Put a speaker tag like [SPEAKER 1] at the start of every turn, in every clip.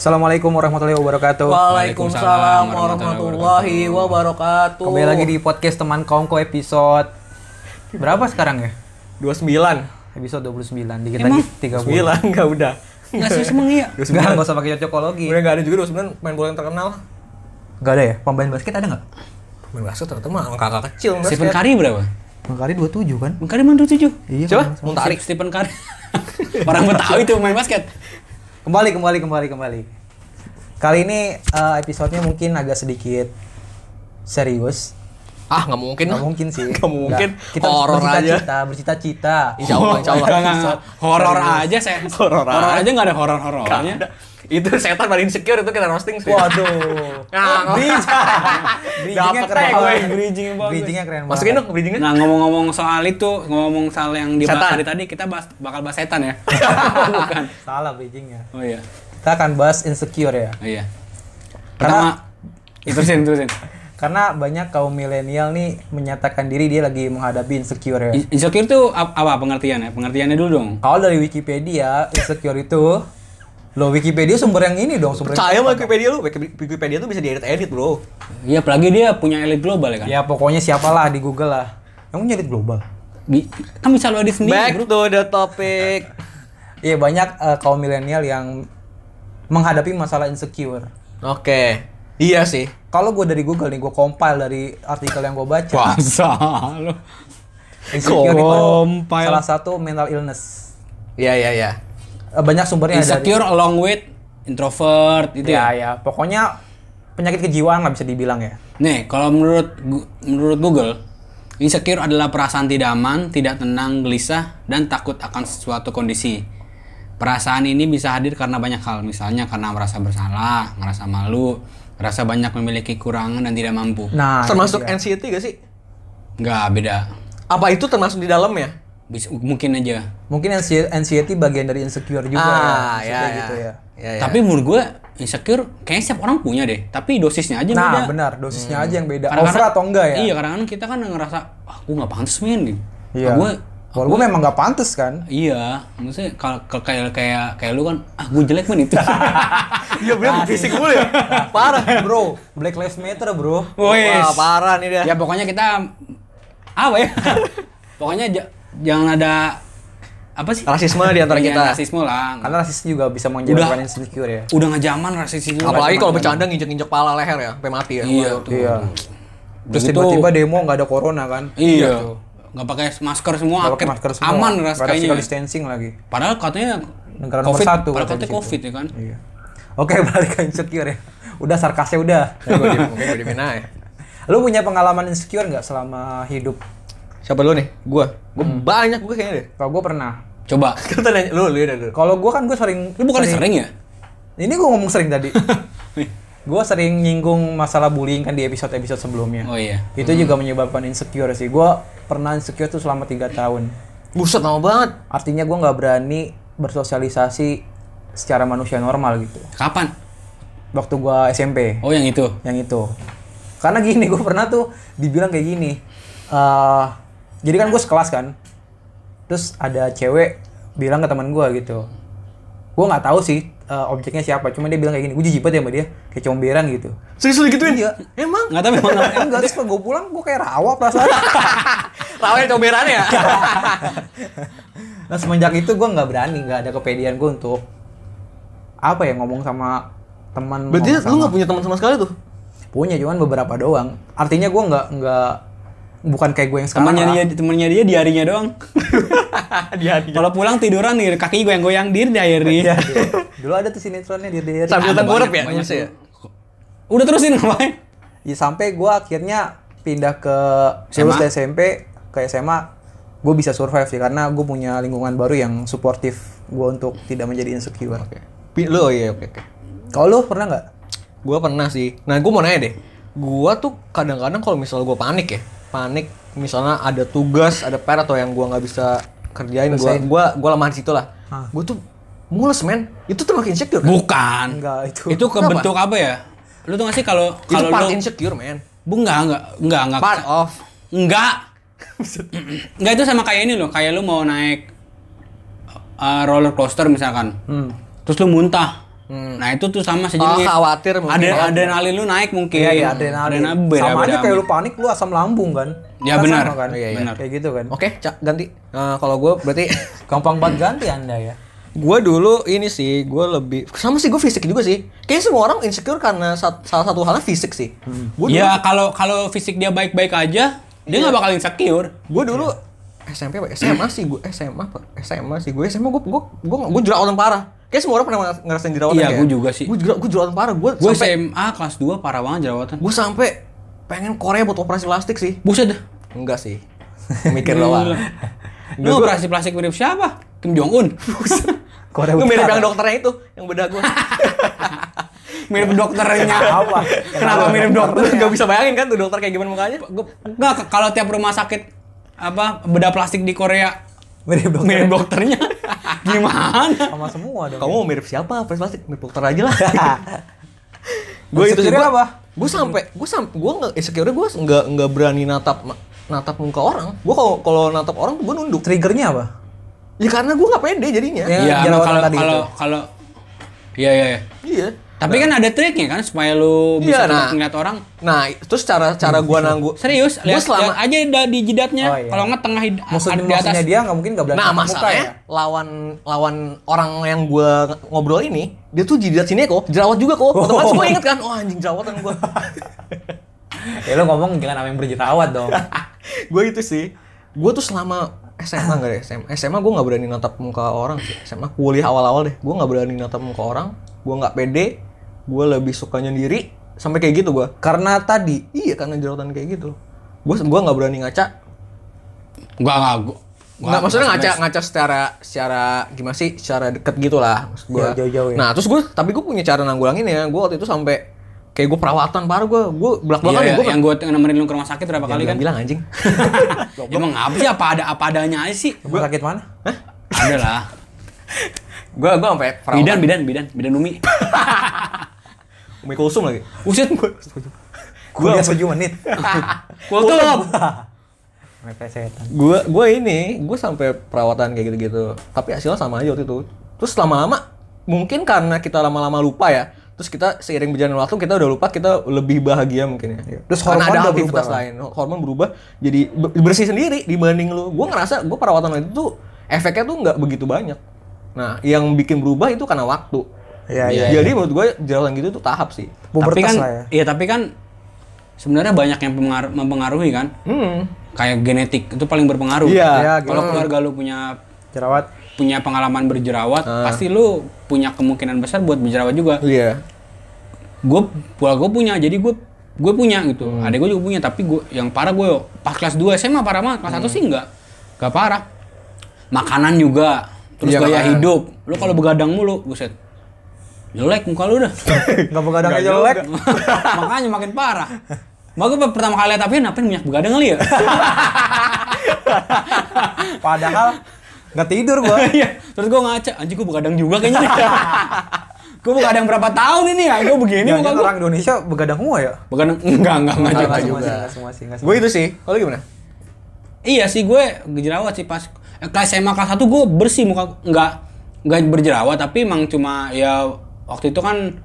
[SPEAKER 1] Assalamualaikum warahmatullahi wabarakatuh.
[SPEAKER 2] Waalaikumsalam warahmatullahi wabarakatuh.
[SPEAKER 1] Kembali lagi di podcast teman kongko episode berapa sekarang ya?
[SPEAKER 2] 29.
[SPEAKER 1] Episode 29. Dikit
[SPEAKER 2] Emang?
[SPEAKER 1] lagi 30.
[SPEAKER 2] 29 enggak udah.
[SPEAKER 3] Nggak sih semang iya.
[SPEAKER 1] Enggak, enggak usah pakai cocokologi.
[SPEAKER 2] Udah enggak ada juga 29 pemain bola yang terkenal.
[SPEAKER 1] Enggak ada ya? Pemain basket ada enggak?
[SPEAKER 2] Pemain basket terkenal mah kakak kecil basket.
[SPEAKER 3] Stephen Curry berapa?
[SPEAKER 1] Mengkali 27 kan?
[SPEAKER 3] Mengkari mana
[SPEAKER 1] Iya.
[SPEAKER 3] 27?
[SPEAKER 2] Coba
[SPEAKER 1] kalau nggak salah.
[SPEAKER 2] Muntari.
[SPEAKER 3] Stephen Curry. Orang Betawi tuh main basket.
[SPEAKER 1] Kembali kembali kembali kembali. Kali ini eh, episodenya mungkin agak sedikit serius.
[SPEAKER 2] Ah, enggak mungkin.
[SPEAKER 1] Nggak mungkin sih.
[SPEAKER 2] Nggak mungkin.
[SPEAKER 1] Nggak. Kita
[SPEAKER 2] Horor aja.
[SPEAKER 1] bercita-cita, bercita-cita.
[SPEAKER 2] Insya Allah, insya Allah.
[SPEAKER 3] Oh, Nggak, nggak, nggak. Horor aja saya.
[SPEAKER 2] Horor
[SPEAKER 3] Horor
[SPEAKER 2] aja.
[SPEAKER 3] aja nggak ada
[SPEAKER 2] Nggak
[SPEAKER 3] horor-horornya.
[SPEAKER 2] ada. Itu setan paling insecure itu kita roasting sih.
[SPEAKER 1] Waduh.
[SPEAKER 2] Nah, bisa.
[SPEAKER 1] Bridgingnya
[SPEAKER 2] Dapet
[SPEAKER 1] keren
[SPEAKER 2] aja gue.
[SPEAKER 1] banget.
[SPEAKER 3] Bridgingnya bagus.
[SPEAKER 1] Bridgingnya keren banget.
[SPEAKER 2] Masukin dong ke bridgingnya.
[SPEAKER 3] Nah ngomong-ngomong soal itu, ngomong soal yang dibahas
[SPEAKER 2] Setan.
[SPEAKER 3] tadi tadi kita bahas, bakal bahas setan ya. Bukan.
[SPEAKER 1] Salah bridgingnya.
[SPEAKER 3] Oh iya.
[SPEAKER 1] Kita akan bahas insecure ya.
[SPEAKER 3] Oh iya.
[SPEAKER 1] Karena-
[SPEAKER 3] Pertama, itu terusin, terusin.
[SPEAKER 1] Karena banyak kaum milenial nih menyatakan diri dia lagi menghadapi insecure ya.
[SPEAKER 3] In- Insecure itu ap- apa pengertiannya? Pengertiannya dulu dong.
[SPEAKER 1] Kalau dari Wikipedia, insecure itu lo Wikipedia sumber yang ini dong, sumber yang-
[SPEAKER 2] Percaya sama Wikipedia lu. Wiki- Wikipedia tuh bisa diedit-edit, Bro.
[SPEAKER 3] Iya, apalagi dia punya elit global ya
[SPEAKER 2] Iya.
[SPEAKER 3] kan?
[SPEAKER 1] Ya pokoknya siapalah di Google lah. Yang nyari global.
[SPEAKER 3] Di, kan bisa lo edit sendiri,
[SPEAKER 2] Back
[SPEAKER 3] bro.
[SPEAKER 2] to the topic.
[SPEAKER 1] Iya banyak eh, kaum milenial yang menghadapi masalah insecure.
[SPEAKER 2] Oke. Iya sih.
[SPEAKER 1] Kalau gue dari Google nih, gue compile dari artikel yang gue baca.
[SPEAKER 3] Masa lo.
[SPEAKER 1] Insecure itu
[SPEAKER 3] Compile.
[SPEAKER 1] salah satu mental illness.
[SPEAKER 2] Iya, iya, iya.
[SPEAKER 1] Eh, Banyak sumbernya dari
[SPEAKER 3] Insecure along with introvert gitu
[SPEAKER 1] ya
[SPEAKER 3] ya.
[SPEAKER 1] ya pokoknya penyakit kejiwaan nggak bisa dibilang ya
[SPEAKER 3] Nih, kalau menurut Gu- menurut Google, insecure adalah perasaan tidak aman, tidak tenang, gelisah, dan takut akan sesuatu kondisi. Perasaan ini bisa hadir karena banyak hal, misalnya karena merasa bersalah, merasa malu, merasa banyak memiliki kurangan dan tidak mampu.
[SPEAKER 1] nah itu
[SPEAKER 2] Termasuk
[SPEAKER 1] dia.
[SPEAKER 2] NCT gak sih?
[SPEAKER 3] Nggak beda.
[SPEAKER 2] Apa itu termasuk di ya? dalamnya?
[SPEAKER 3] Bis- mungkin aja.
[SPEAKER 1] mungkin anxie- anxiety bagian dari insecure juga
[SPEAKER 2] ah,
[SPEAKER 1] ya,
[SPEAKER 2] ya,
[SPEAKER 1] maksudnya
[SPEAKER 2] ya.
[SPEAKER 1] gitu ya
[SPEAKER 2] Ya, ya.
[SPEAKER 3] Tapi menurut gue insecure kayaknya setiap orang punya deh, tapi dosisnya aja
[SPEAKER 1] nah
[SPEAKER 3] beda.
[SPEAKER 1] benar dosisnya aja yang beda
[SPEAKER 3] Kadang-kadang-
[SPEAKER 1] over atau enggak ya
[SPEAKER 3] Iya, kadang-kadang kita kan ngerasa, ah, gue nggak pantas main gitu.
[SPEAKER 1] iya
[SPEAKER 3] Ah, gue,
[SPEAKER 1] walaupun memang nggak pantas kan
[SPEAKER 3] iya, maksudnya kalau kalau kayak kayak kayak lu kan, ah gue jelek main itu.
[SPEAKER 2] Iya bener fisik mulu ya. Parah.
[SPEAKER 3] Oh,
[SPEAKER 1] bro black lives matter bro
[SPEAKER 3] Wes.
[SPEAKER 2] Wah, parah nih dia.
[SPEAKER 3] ya pokoknya kita apa ya? pokoknya ja- jangan ada apa sih?
[SPEAKER 2] Rasisme di antara
[SPEAKER 3] Iya,
[SPEAKER 2] kita.
[SPEAKER 3] Rasisme lah.
[SPEAKER 1] karena rasis juga bisa menyebabkan insecure ya
[SPEAKER 3] Udah nggak zaman rasis itu.
[SPEAKER 2] Apalagi kalau bercanda nginjek-nginjek pala leher ya, sampai mati ya.
[SPEAKER 3] Iya. Tuh.
[SPEAKER 1] iya
[SPEAKER 3] Udah
[SPEAKER 1] terus
[SPEAKER 3] gitu-
[SPEAKER 1] tiba-tiba demo nggak ada corona kan
[SPEAKER 3] Iya. Nggak pakai masker semua,
[SPEAKER 1] Nggak pakai
[SPEAKER 3] akhir-
[SPEAKER 1] masker semua
[SPEAKER 3] aman
[SPEAKER 1] nggak
[SPEAKER 3] ras
[SPEAKER 1] ada
[SPEAKER 3] kayaknya.
[SPEAKER 1] physical distancing lagi
[SPEAKER 3] Padahal katanya
[SPEAKER 1] Negara nomor
[SPEAKER 3] COVID,
[SPEAKER 1] satu
[SPEAKER 3] Padahal
[SPEAKER 1] katanya
[SPEAKER 3] katanya
[SPEAKER 1] di situ.
[SPEAKER 3] covid ya kan.
[SPEAKER 1] iya oke balik ke insecure ya udah sarkasnya udah
[SPEAKER 2] Gue di gue di Mina ya.
[SPEAKER 1] Lu punya pengalaman insecure nggak selama hidup?
[SPEAKER 2] Siapa lu nih? Gua. Gua banyak gue kayaknya deh.
[SPEAKER 1] Kalau gue pernah.
[SPEAKER 3] Coba.
[SPEAKER 2] Kita nanya lu, lu ya dulu.
[SPEAKER 1] Kalau gue kan gue sering.
[SPEAKER 3] Lu bukan sering ya?
[SPEAKER 1] Ini gue ngomong sering tadi. gue sering nyinggung masalah bullying kan di episode-episode sebelumnya.
[SPEAKER 3] Oh iya.
[SPEAKER 1] Itu juga menyebabkan insecure sih. Gue pernah insecure tuh selama tiga tahun.
[SPEAKER 2] Buset lama banget.
[SPEAKER 1] Artinya gue nggak berani bersosialisasi secara manusia normal gitu.
[SPEAKER 3] Kapan?
[SPEAKER 1] Waktu gue SMP.
[SPEAKER 3] Oh yang itu.
[SPEAKER 1] yang itu karena gini gue pernah tuh dibilang kayak gini Eh, jadi kan gue sekelas kan terus ada cewek bilang ke teman gue gitu gue nggak tahu sih eh, objeknya siapa cuma dia bilang kayak gini gue jijik banget ya sama dia kayak comberan gitu
[SPEAKER 2] Serius lu gituin?
[SPEAKER 1] Iya.
[SPEAKER 2] Emang?
[SPEAKER 3] Nggak tahu memang namanya.
[SPEAKER 1] enggak terus pas gue pulang gue kayak rawa perasaan
[SPEAKER 2] Lawannya comberan ya?
[SPEAKER 1] nah semenjak itu gue nggak berani nggak ada kepedean gue untuk apa ya ngomong sama teman ngomong
[SPEAKER 2] Berarti lu
[SPEAKER 1] sama-
[SPEAKER 2] nggak punya teman sama sekali tuh?
[SPEAKER 1] punya cuman beberapa doang artinya gue nggak nggak bukan kayak gue yang sekarang
[SPEAKER 3] Temannya
[SPEAKER 1] lah.
[SPEAKER 3] dia, temannya dia diarinya doang.
[SPEAKER 2] Dia
[SPEAKER 3] Kalau pulang tiduran nih, kaki goyang-goyang diri diari.
[SPEAKER 1] Dulu ada tuh sinetronnya di DRI.
[SPEAKER 2] Sambil tengkurap ya?
[SPEAKER 3] Iya. Banyak
[SPEAKER 2] Banyak ya?
[SPEAKER 3] Udah terusin ngapain?
[SPEAKER 1] Ya, sampai gue akhirnya pindah ke lulus dari SMP ke SMA gue bisa survive sih karena gue punya lingkungan baru yang suportif gue untuk tidak menjadi insecure.
[SPEAKER 2] Pi- Lu oh iya oke oke.
[SPEAKER 1] Kalau lu pernah nggak?
[SPEAKER 2] Gua pernah sih. Nah, gua mau nanya deh. Gua tuh kadang-kadang kalau misalnya gua panik ya, panik misalnya ada tugas, ada PR atau yang gua nggak bisa kerjain, gua
[SPEAKER 1] Selesaiin.
[SPEAKER 2] gua gua lamahan situ lah.
[SPEAKER 1] Hah.
[SPEAKER 2] Gua tuh mules, men. Itu termasuk insecure kan?
[SPEAKER 3] Bukan.
[SPEAKER 1] Enggak itu.
[SPEAKER 3] Itu kebentuk apa ya? Lu tuh ngasih kalau
[SPEAKER 2] Itu
[SPEAKER 3] kalau
[SPEAKER 2] part
[SPEAKER 3] lu
[SPEAKER 2] insecure, men.
[SPEAKER 3] Bu enggak, enggak, enggak, enggak.
[SPEAKER 2] Part of
[SPEAKER 3] Enggak. enggak itu sama kayak ini loh, kayak lu mau naik uh, eh, roller coaster misalkan.
[SPEAKER 1] Hmm. Ah,
[SPEAKER 3] Terus lu muntah. Nah itu tuh
[SPEAKER 2] Oh,
[SPEAKER 3] sama sejenis.
[SPEAKER 2] khawatir mungkin.
[SPEAKER 3] Ada adrenalin lu naik mungkin.
[SPEAKER 1] Iya, iya, adrenalin.
[SPEAKER 3] beda,
[SPEAKER 1] sama aja
[SPEAKER 3] beda.
[SPEAKER 1] kayak lu panik, lu asam lambung kan?
[SPEAKER 3] Ya,
[SPEAKER 1] Kan
[SPEAKER 3] benar.
[SPEAKER 1] sama kan?
[SPEAKER 2] Iya, iya.
[SPEAKER 3] Benar.
[SPEAKER 1] Kayak gitu kan.
[SPEAKER 2] Oke, Cak, ganti. Nah, kalau gue berarti
[SPEAKER 1] Gampang banget ganti Anda ya.
[SPEAKER 2] gue dulu ini sih, gue lebih sama sih gue fisik juga sih. Kayaknya semua orang insecure karena sat- salah satu halnya fisik sih. Gue dulu,
[SPEAKER 3] Ya kalau kalau fisik dia baik-baik aja, dia nggak bakal insecure.
[SPEAKER 2] gua dulu SMP apa SMA sih gue SMA apa SMA sih gue SMA gue gue gue gue jerawatan parah. Kayaknya semua orang pernah ngerasain jerawatan.
[SPEAKER 3] Iya, gua juga sih.
[SPEAKER 2] Gue jerawatan, parah. Gue
[SPEAKER 3] Gue
[SPEAKER 2] sampai
[SPEAKER 3] SMA kelas 2 parah banget jerawatan.
[SPEAKER 2] gue sampai pengen Korea buat operasi plastik sih.
[SPEAKER 3] Buset dah.
[SPEAKER 2] Enggak sih. Mikir doang.
[SPEAKER 3] Lu operasi plastik mirip siapa? Kim Jong Un.
[SPEAKER 1] Korea
[SPEAKER 2] Gue mirip
[SPEAKER 1] Utara.
[SPEAKER 2] yang dokternya itu, yang bedah gue.
[SPEAKER 3] mirip dokternya.
[SPEAKER 1] Kenapa?
[SPEAKER 3] Kenapa mirip dokter?
[SPEAKER 2] Gak bisa bayangin kan tuh dokter kayak gimana mukanya?
[SPEAKER 3] Enggak, kalau tiap rumah sakit apa bedah plastik di Korea
[SPEAKER 1] Mirip dokter.
[SPEAKER 3] mirip dokternya gimana?
[SPEAKER 1] Sama semua dong.
[SPEAKER 2] Kamu mau mirip siapa? Operasi plastik, mirip dokter aja lah. gue
[SPEAKER 1] Insecure
[SPEAKER 2] itu sih gue
[SPEAKER 1] apa?
[SPEAKER 2] Gue sampai gue sampai gue nggak insecure gue nggak nggak berani natap natap muka orang. Gue kalau kalau natap orang gue nunduk.
[SPEAKER 1] Triggernya apa?
[SPEAKER 2] Ya karena gue nggak pede jadinya.
[SPEAKER 1] Ya,
[SPEAKER 3] Iya,
[SPEAKER 1] jerawatan
[SPEAKER 3] kalau
[SPEAKER 1] tadi
[SPEAKER 3] kalau kalau Iya, iya, iya.
[SPEAKER 2] Iya.
[SPEAKER 3] Tapi kan ada triknya kan supaya lu bisa
[SPEAKER 2] Iya, nah.
[SPEAKER 3] ngeliat orang.
[SPEAKER 2] Nah, terus cara cara gue
[SPEAKER 1] Iya.
[SPEAKER 2] nanggu.
[SPEAKER 3] Serius,
[SPEAKER 2] gue
[SPEAKER 3] lihat
[SPEAKER 2] selama
[SPEAKER 3] lihat aja da- di jidatnya.
[SPEAKER 1] Oh, iya.
[SPEAKER 3] Kalau nggak tengah hid-
[SPEAKER 1] Maksud,
[SPEAKER 3] ada di atas.
[SPEAKER 1] maksudnya dia nggak mungkin nggak berani
[SPEAKER 2] Nah
[SPEAKER 1] tatap muka ya?
[SPEAKER 2] masalahnya lawan lawan orang yang gue ngobrol ini dia tuh jidat sini kok jerawat juga kok otomatis gue inget kan oh anjing jerawatan gue
[SPEAKER 1] Ya lo ngomong jangan sama yang berjerawat dong.
[SPEAKER 2] gue itu sih gue tuh selama SMA nggak deh SMA SMA gue nggak berani natap muka orang sih SMA kuliah awal-awal deh gue nggak berani natap muka orang gue nggak pede gue lebih suka nyendiri sampai kayak gitu gue
[SPEAKER 1] Karena tadi
[SPEAKER 2] iya karena jerawatan kayak gitu gue gua nggak berani ngaca
[SPEAKER 3] Gua enggak gua. gua-
[SPEAKER 2] Nggak, maksudnya
[SPEAKER 3] gua-
[SPEAKER 2] ngaca ngaca secara secara gimana sih? Secara deket gitu lah. Maksud gua.
[SPEAKER 1] Iya, jauh-jauh ya.
[SPEAKER 2] Nah, terus gue tapi gue punya cara nanggulangin ya. Gue waktu itu sampai kayak gue perawatan parah gue. Gue
[SPEAKER 1] kan
[SPEAKER 2] belak-belakan ya,
[SPEAKER 3] Iya,
[SPEAKER 2] gue
[SPEAKER 3] yang gue nemenin lu ke rumah sakit berapa
[SPEAKER 1] Iya,
[SPEAKER 3] kali kan?
[SPEAKER 2] Iya, bilang anjing.
[SPEAKER 3] Emang apa sih apa ada apa adanya aja sih?
[SPEAKER 1] rumah sakit mana?
[SPEAKER 3] Ada lah.
[SPEAKER 2] gue gue sampai
[SPEAKER 3] Bidan,
[SPEAKER 2] perawatan.
[SPEAKER 3] bidan, bidan, bidan Umi.
[SPEAKER 2] Umi kulsum lagi.
[SPEAKER 3] Uset.
[SPEAKER 1] Kuliah 7 menit.
[SPEAKER 3] Kultum.
[SPEAKER 1] Mepet setan.
[SPEAKER 2] Gue gue ini gue sampai perawatan kayak gitu-gitu. Tapi hasilnya sama aja waktu itu. Terus lama-lama mungkin karena kita lama-lama lupa ya. Terus kita seiring berjalan waktu kita udah lupa kita lebih bahagia mungkin ya.
[SPEAKER 1] Terus hormon
[SPEAKER 2] Karena ada
[SPEAKER 1] udah
[SPEAKER 2] aktivitas
[SPEAKER 1] berubah.
[SPEAKER 2] lain hormon berubah jadi be- bersih sendiri dibanding lu gue ngerasa gue perawatan itu tuh efeknya tuh nggak begitu banyak nah yang bikin berubah itu karena waktu
[SPEAKER 1] Iya, iya,
[SPEAKER 2] jadi menurut gue jerawatan gitu tuh tahap sih
[SPEAKER 1] Pubertas
[SPEAKER 3] tapi kan,
[SPEAKER 1] lah ya.
[SPEAKER 3] Iya, tapi kan sebenarnya banyak yang pengaruh- mempengaruhi kan.
[SPEAKER 2] hmm.
[SPEAKER 3] Kayak genetik itu paling berpengaruh.
[SPEAKER 2] Iya.
[SPEAKER 1] Iya,
[SPEAKER 3] Kalau
[SPEAKER 1] gitu.
[SPEAKER 3] keluarga lu punya
[SPEAKER 1] Jerawat.
[SPEAKER 3] punya pengalaman berjerawat,
[SPEAKER 1] Ah.
[SPEAKER 3] pasti lu punya kemungkinan besar buat berjerawat juga.
[SPEAKER 2] iya
[SPEAKER 3] Gue pula gue punya, jadi gue gue punya gitu.
[SPEAKER 2] Hmm.
[SPEAKER 3] Ada gue juga punya, tapi gue yang parah gue pas kelas 2 SMA parah banget, kelas
[SPEAKER 2] Hmm.
[SPEAKER 3] 1 sih enggak. Enggak parah. Makanan juga, terus
[SPEAKER 2] Iya,
[SPEAKER 3] gaya
[SPEAKER 2] makanan.
[SPEAKER 3] hidup. Lu kalau begadang mulu, buset. Jelek muka lu dah.
[SPEAKER 1] Enggak begadang
[SPEAKER 2] Nggak
[SPEAKER 1] aja jelek.
[SPEAKER 3] Makanya makin parah. Mak gue pertama kali liat apian, apian minyak begadang kali ya?
[SPEAKER 1] Padahal nggak tidur gua.
[SPEAKER 3] Iya. Terus gue ngaca, anjing gue begadang juga kayaknya nih. gue begadang berapa tahun ini ya? Gue begini muka
[SPEAKER 1] Jangan
[SPEAKER 3] gue.
[SPEAKER 1] orang Indonesia begadang semua ya?
[SPEAKER 3] Begadang, enggak, enggak, enggak,
[SPEAKER 2] Enggak,
[SPEAKER 3] juga.
[SPEAKER 2] enggak. juga.
[SPEAKER 1] Enggak semua sih, enggak semua.
[SPEAKER 2] gue itu sih kalau gimana
[SPEAKER 3] Iya sih gue berjerawat sih pas eh, kelas SMA kelas 1 gue bersih muka nggak nggak berjerawat tapi emang cuma ya waktu itu kan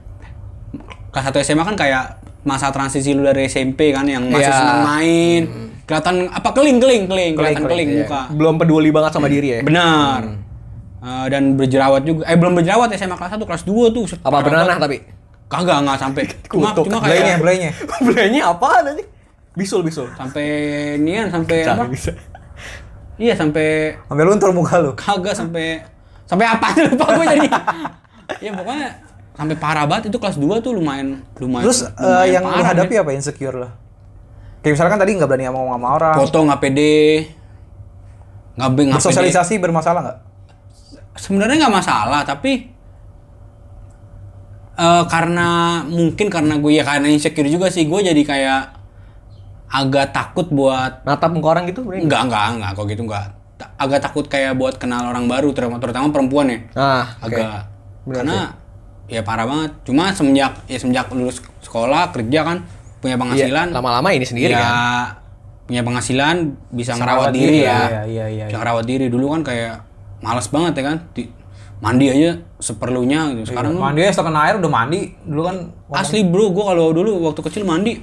[SPEAKER 3] kelas 1 SMA kan kayak masa transisi lu dari SMP kan yang masih
[SPEAKER 2] Iya.
[SPEAKER 3] senang main kelihatan apa keling keling keling kelihatan keling,
[SPEAKER 1] keling, iya.
[SPEAKER 3] muka
[SPEAKER 2] belum peduli banget sama diri ya
[SPEAKER 3] benar Eh, dan berjerawat juga eh belum berjerawat SMA kelas 1 kelas 2 tuh set-
[SPEAKER 2] apa bernanah tapi
[SPEAKER 3] kagak nggak sampai cuma,
[SPEAKER 2] Kutuk.
[SPEAKER 3] cuma
[SPEAKER 1] Belaynya,
[SPEAKER 3] kayak
[SPEAKER 1] belaynya.
[SPEAKER 2] belanya apa nanti bisul bisul
[SPEAKER 3] sampai nian sampai apa
[SPEAKER 2] Cari bisa
[SPEAKER 3] iya sampai
[SPEAKER 1] Sampai luntur muka lu.
[SPEAKER 3] kagak sampai sampai apa tuh lupa gue jadi ya pokoknya sampai parah banget itu kelas 2 tuh lumayan lumayan
[SPEAKER 1] Terus eh,
[SPEAKER 3] lumayan
[SPEAKER 1] yang lu
[SPEAKER 3] parah,
[SPEAKER 1] hadapi
[SPEAKER 3] men.
[SPEAKER 1] apa insecure lah? Kayak misalkan tadi nggak berani ngomong sama orang.
[SPEAKER 3] foto nggak pede nggak be- nggak pede
[SPEAKER 1] Sosialisasi bermasalah nggak?
[SPEAKER 3] sebenarnya nggak masalah tapi eh, karena mungkin karena gue ya karena insecure juga sih gue jadi kayak agak takut buat
[SPEAKER 2] natap muka orang gitu berani
[SPEAKER 3] enggak enggak enggak kok gitu enggak Ta- agak takut kayak buat kenal orang baru terutama terutama perempuan ya
[SPEAKER 2] ah oke
[SPEAKER 3] agak karena ya parah banget cuma semenjak ya semenjak lulus sekolah kerja kan punya
[SPEAKER 2] Iya,
[SPEAKER 3] penghasilan
[SPEAKER 2] lama-lama ini sendiri
[SPEAKER 3] ya,
[SPEAKER 2] kan
[SPEAKER 3] punya penghasilan bisa ngerawat diri
[SPEAKER 1] Iya,
[SPEAKER 3] ya
[SPEAKER 1] iya, iya.
[SPEAKER 3] bisa ngerawat diri dulu kan kayak males banget ya kan Di- mandi aja seperlunya gitu. Sekarang
[SPEAKER 1] Iya, mandi aja setengah air udah mandi dulu kan
[SPEAKER 3] asli bro, gua kalau dulu waktu kecil mandi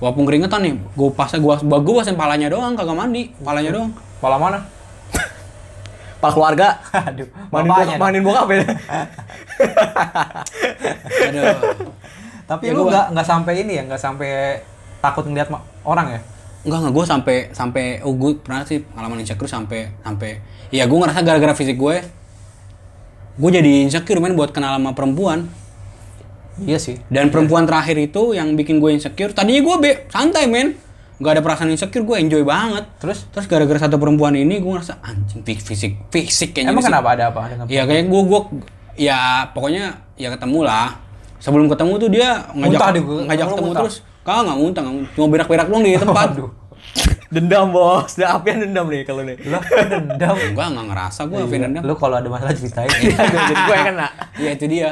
[SPEAKER 3] walaupun keringetan nih, gua pasnya gua gua pasain palanya doang kagak mandi, palanya doang.
[SPEAKER 1] kepala mana
[SPEAKER 2] Kepala keluarga.
[SPEAKER 1] aduh
[SPEAKER 2] Manin
[SPEAKER 1] bapaknya
[SPEAKER 2] bokap,
[SPEAKER 1] dong.
[SPEAKER 2] manin bokap ya.
[SPEAKER 3] Aduh.
[SPEAKER 1] tapi lu nggak nggak sampai ini ya nggak sampai takut ngeliat ma- orang ya
[SPEAKER 3] Enggak, enggak, gue sampai sampai oh gue pernah sih pengalaman insecure sampai sampai ya gue ngerasa gara-gara fisik gue gue jadi insecure main buat kenal sama perempuan
[SPEAKER 1] iya sih
[SPEAKER 3] dan perempuan terakhir itu yang bikin gue insecure tadinya gue be santai men nggak ada perasaan insecure gue enjoy banget terus terus gara-gara satu perempuan ini gue ngerasa anjing fi- fisik fisik kayaknya
[SPEAKER 1] emang
[SPEAKER 3] fisik."
[SPEAKER 1] kenapa ada apa dengan
[SPEAKER 3] ya kayak gue gue ya pokoknya ya ketemu lah sebelum ketemu tuh dia ngajak
[SPEAKER 1] Muntah deh gua.
[SPEAKER 3] ngajak
[SPEAKER 1] Lu
[SPEAKER 3] ketemu
[SPEAKER 1] muntah.
[SPEAKER 3] terus kagak nggak muntah nggak muntah. cuma berak-berak doang di tempat
[SPEAKER 1] Aduh,
[SPEAKER 2] dendam bos. Udah apian dendam nih kalau nih.
[SPEAKER 1] lu dendam.
[SPEAKER 3] Enggak, enggak ngerasa gue
[SPEAKER 1] Iya.
[SPEAKER 3] Alvin dendam.
[SPEAKER 1] Lu kalau ada masalah ceritain.
[SPEAKER 2] Aduh, jadi gue yang kena.
[SPEAKER 3] Iya itu dia.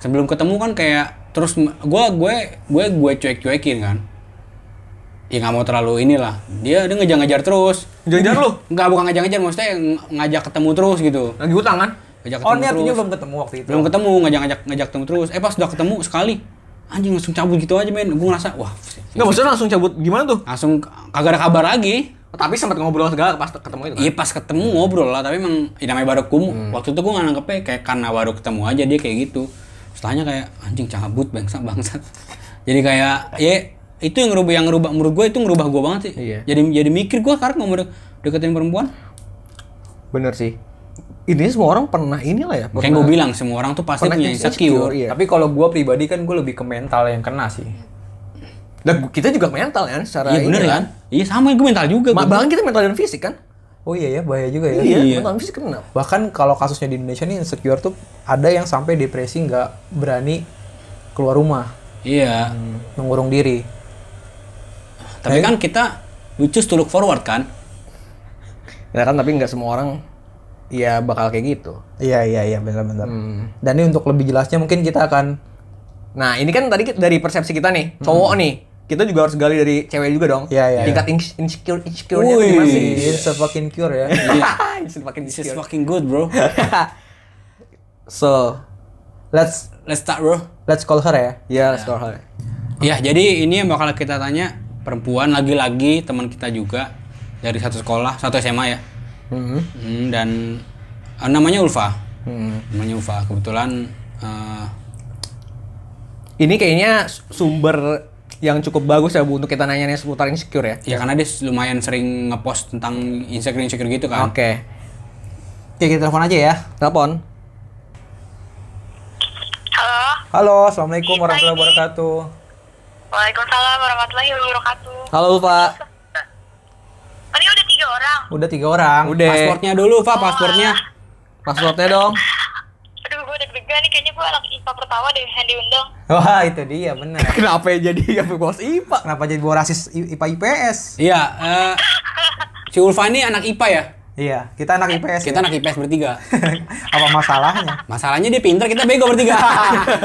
[SPEAKER 3] Sebelum ketemu kan kayak terus m- gue gue gue gue cuek-cuekin kan. Ya nggak mau terlalu inilah. Dia dia ngejar-ngejar terus.
[SPEAKER 2] Jangan-jangan lu
[SPEAKER 3] Enggak bukan ngejar-ngejar maksudnya ng- ngajak ketemu terus gitu.
[SPEAKER 2] lagi utang kan?
[SPEAKER 3] Ngajak
[SPEAKER 1] oh,
[SPEAKER 3] ketemu
[SPEAKER 1] ini artinya
[SPEAKER 3] terus.
[SPEAKER 1] belum ketemu waktu itu.
[SPEAKER 3] Belum ketemu, ngajak-ngajak ngajak ketemu terus. Eh pas udah ketemu sekali anjing langsung cabut gitu aja men. Gue ngerasa wah
[SPEAKER 2] Enggak maksudnya langsung cabut gimana tuh?
[SPEAKER 3] langsung k- kagak ada kabar lagi.
[SPEAKER 2] Tapi sempat ngobrol segala pas ketemu itu kan.
[SPEAKER 3] Iya pas ketemu ngobrol lah, tapi emang ya namanya baru ketemu.
[SPEAKER 2] Hmm.
[SPEAKER 3] Waktu itu gue nggak nangkepnya kayak karena baru ketemu aja dia kayak gitu. Setelahnya kayak anjing cabut bangsa bangsat. Jadi kayak ya itu yang ngerubah yang ngerubah menurut gue itu ngerubah gue banget sih.
[SPEAKER 2] Iya.
[SPEAKER 3] Jadi jadi mikir gue sekarang ngomong deketin perempuan.
[SPEAKER 2] Bener sih. Ini semua orang pernah inilah ya.
[SPEAKER 3] Kayak gue bilang semua orang tuh pasti
[SPEAKER 2] Pernah
[SPEAKER 3] punya
[SPEAKER 2] insecure,
[SPEAKER 3] insecure.
[SPEAKER 2] iya.
[SPEAKER 1] Tapi kalau gua pribadi kan gua lebih ke mental yang kena sih.
[SPEAKER 2] Dan kita juga mental kan secara
[SPEAKER 3] Iya bener
[SPEAKER 2] ini
[SPEAKER 3] kan? Iya sama gue mental juga.
[SPEAKER 2] Ma-
[SPEAKER 3] gua.
[SPEAKER 2] bahkan kita mental dan fisik kan?
[SPEAKER 1] Oh iya ya, bahaya juga ya.
[SPEAKER 2] Iya, mental dan fisik kena.
[SPEAKER 1] Bahkan kalau kasusnya di Indonesia nih insecure tuh ada yang sampai depresi nggak berani keluar rumah,
[SPEAKER 3] Iya.
[SPEAKER 1] Hmm. mengurung diri.
[SPEAKER 3] Tapi kan kita we choose to look forward kan?
[SPEAKER 2] Ya kan tapi nggak semua orang ya bakal kayak gitu.
[SPEAKER 1] Iya iya iya benar-benar. Dan ini untuk lebih jelasnya mungkin kita akan
[SPEAKER 2] Nah, ini kan tadi kita- dari persepsi kita nih,
[SPEAKER 1] Hmm.
[SPEAKER 2] cowok nih. Kita juga harus gali dari cewek juga dong.
[SPEAKER 1] Iya, iya,
[SPEAKER 2] Tingkat ins- insecure insecure-nya
[SPEAKER 3] Wih.
[SPEAKER 2] tuh gimana sih?
[SPEAKER 1] Ini fucking cure ya.
[SPEAKER 2] Iya. Makin
[SPEAKER 3] This is
[SPEAKER 2] insecure.
[SPEAKER 3] fucking good bro.
[SPEAKER 2] So,
[SPEAKER 1] Let's
[SPEAKER 3] Let's start bro.
[SPEAKER 1] let's call her ya.
[SPEAKER 2] ya let's go ahead.
[SPEAKER 3] Ya, jadi ini yang bakal kita tanya perempuan lagi-lagi teman kita juga dari satu sekolah, satu SMA ya.
[SPEAKER 1] Mm-hmm.
[SPEAKER 3] Hmm, dan eh, namanya Ulfa. Namanya Ulfa. Kebetulan eh,
[SPEAKER 2] Ini kayaknya s- sumber yang cukup bagus ya Bu untuk kita nanya seputar insecure ya.
[SPEAKER 3] ya karena dia lumayan sering ngepost tentang insecure-insecure gitu
[SPEAKER 1] Ya.
[SPEAKER 3] kan.
[SPEAKER 2] Oke.
[SPEAKER 1] Oke, kita telepon aja ya.
[SPEAKER 2] Telepon.
[SPEAKER 4] Halo,
[SPEAKER 1] Halo, assalamualaikum warahmatullahi wabarakatuh.
[SPEAKER 4] Waalaikumsalam warahmatullahi wabarakatuh.
[SPEAKER 2] Halo, Pak.
[SPEAKER 4] Oh, Ini udah tiga orang.
[SPEAKER 1] Udah tiga orang.
[SPEAKER 2] Udah.
[SPEAKER 3] Pasportnya dulu, Fa, pasportnya.
[SPEAKER 2] Passwordnya dong.
[SPEAKER 4] Aduh, gue deg-degan nih. Kayaknya gue anak IPA pertama deh yang diundang.
[SPEAKER 1] Wah itu dia bener.
[SPEAKER 2] Kenapa ya jadi yang bos IPA?
[SPEAKER 1] Kenapa jadi bawa rasis I- IPA IPS?
[SPEAKER 3] Iya, eh, si Ulfa ini anak IPA ya.
[SPEAKER 1] Iya, kita anak IPS.
[SPEAKER 3] Kita
[SPEAKER 1] ya.
[SPEAKER 3] anak IPS bertiga.
[SPEAKER 1] Apa masalahnya?
[SPEAKER 3] Masalahnya dia pinter, kita bego bertiga.
[SPEAKER 4] Enggak.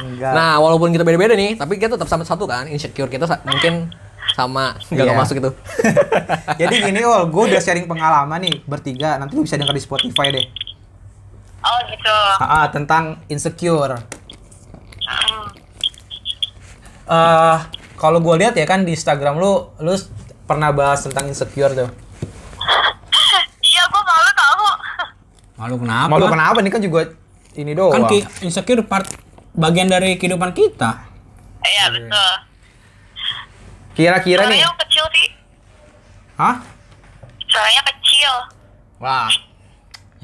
[SPEAKER 1] Enggak.
[SPEAKER 2] Nah, walaupun kita beda-beda nih, tapi kita tetap sama satu kan, insecure kita sa- mungkin sama
[SPEAKER 1] Iya.
[SPEAKER 2] nggak masuk itu.
[SPEAKER 1] Jadi gini, Ol, gue udah sharing pengalaman nih bertiga. Nanti lu bisa denger di Spotify deh.
[SPEAKER 4] Oh, gitu.
[SPEAKER 1] Ah, ah, tentang insecure.
[SPEAKER 4] Hmm.
[SPEAKER 1] Eh, kalau gue lihat ya kan di Instagram lu, lu s- pernah bahas tentang insecure tuh.
[SPEAKER 4] Iya, gue malu tahu.
[SPEAKER 3] Malu kenapa?
[SPEAKER 1] Malu kenapa nih kan juga ini doang.
[SPEAKER 3] Kan ki- insecure part bagian dari kehidupan kita.
[SPEAKER 4] Iya, betul.
[SPEAKER 1] Kira-kira nih.
[SPEAKER 4] Soalnya kecil sih.
[SPEAKER 1] Hah?
[SPEAKER 4] Soalnya kecil.
[SPEAKER 2] Wah,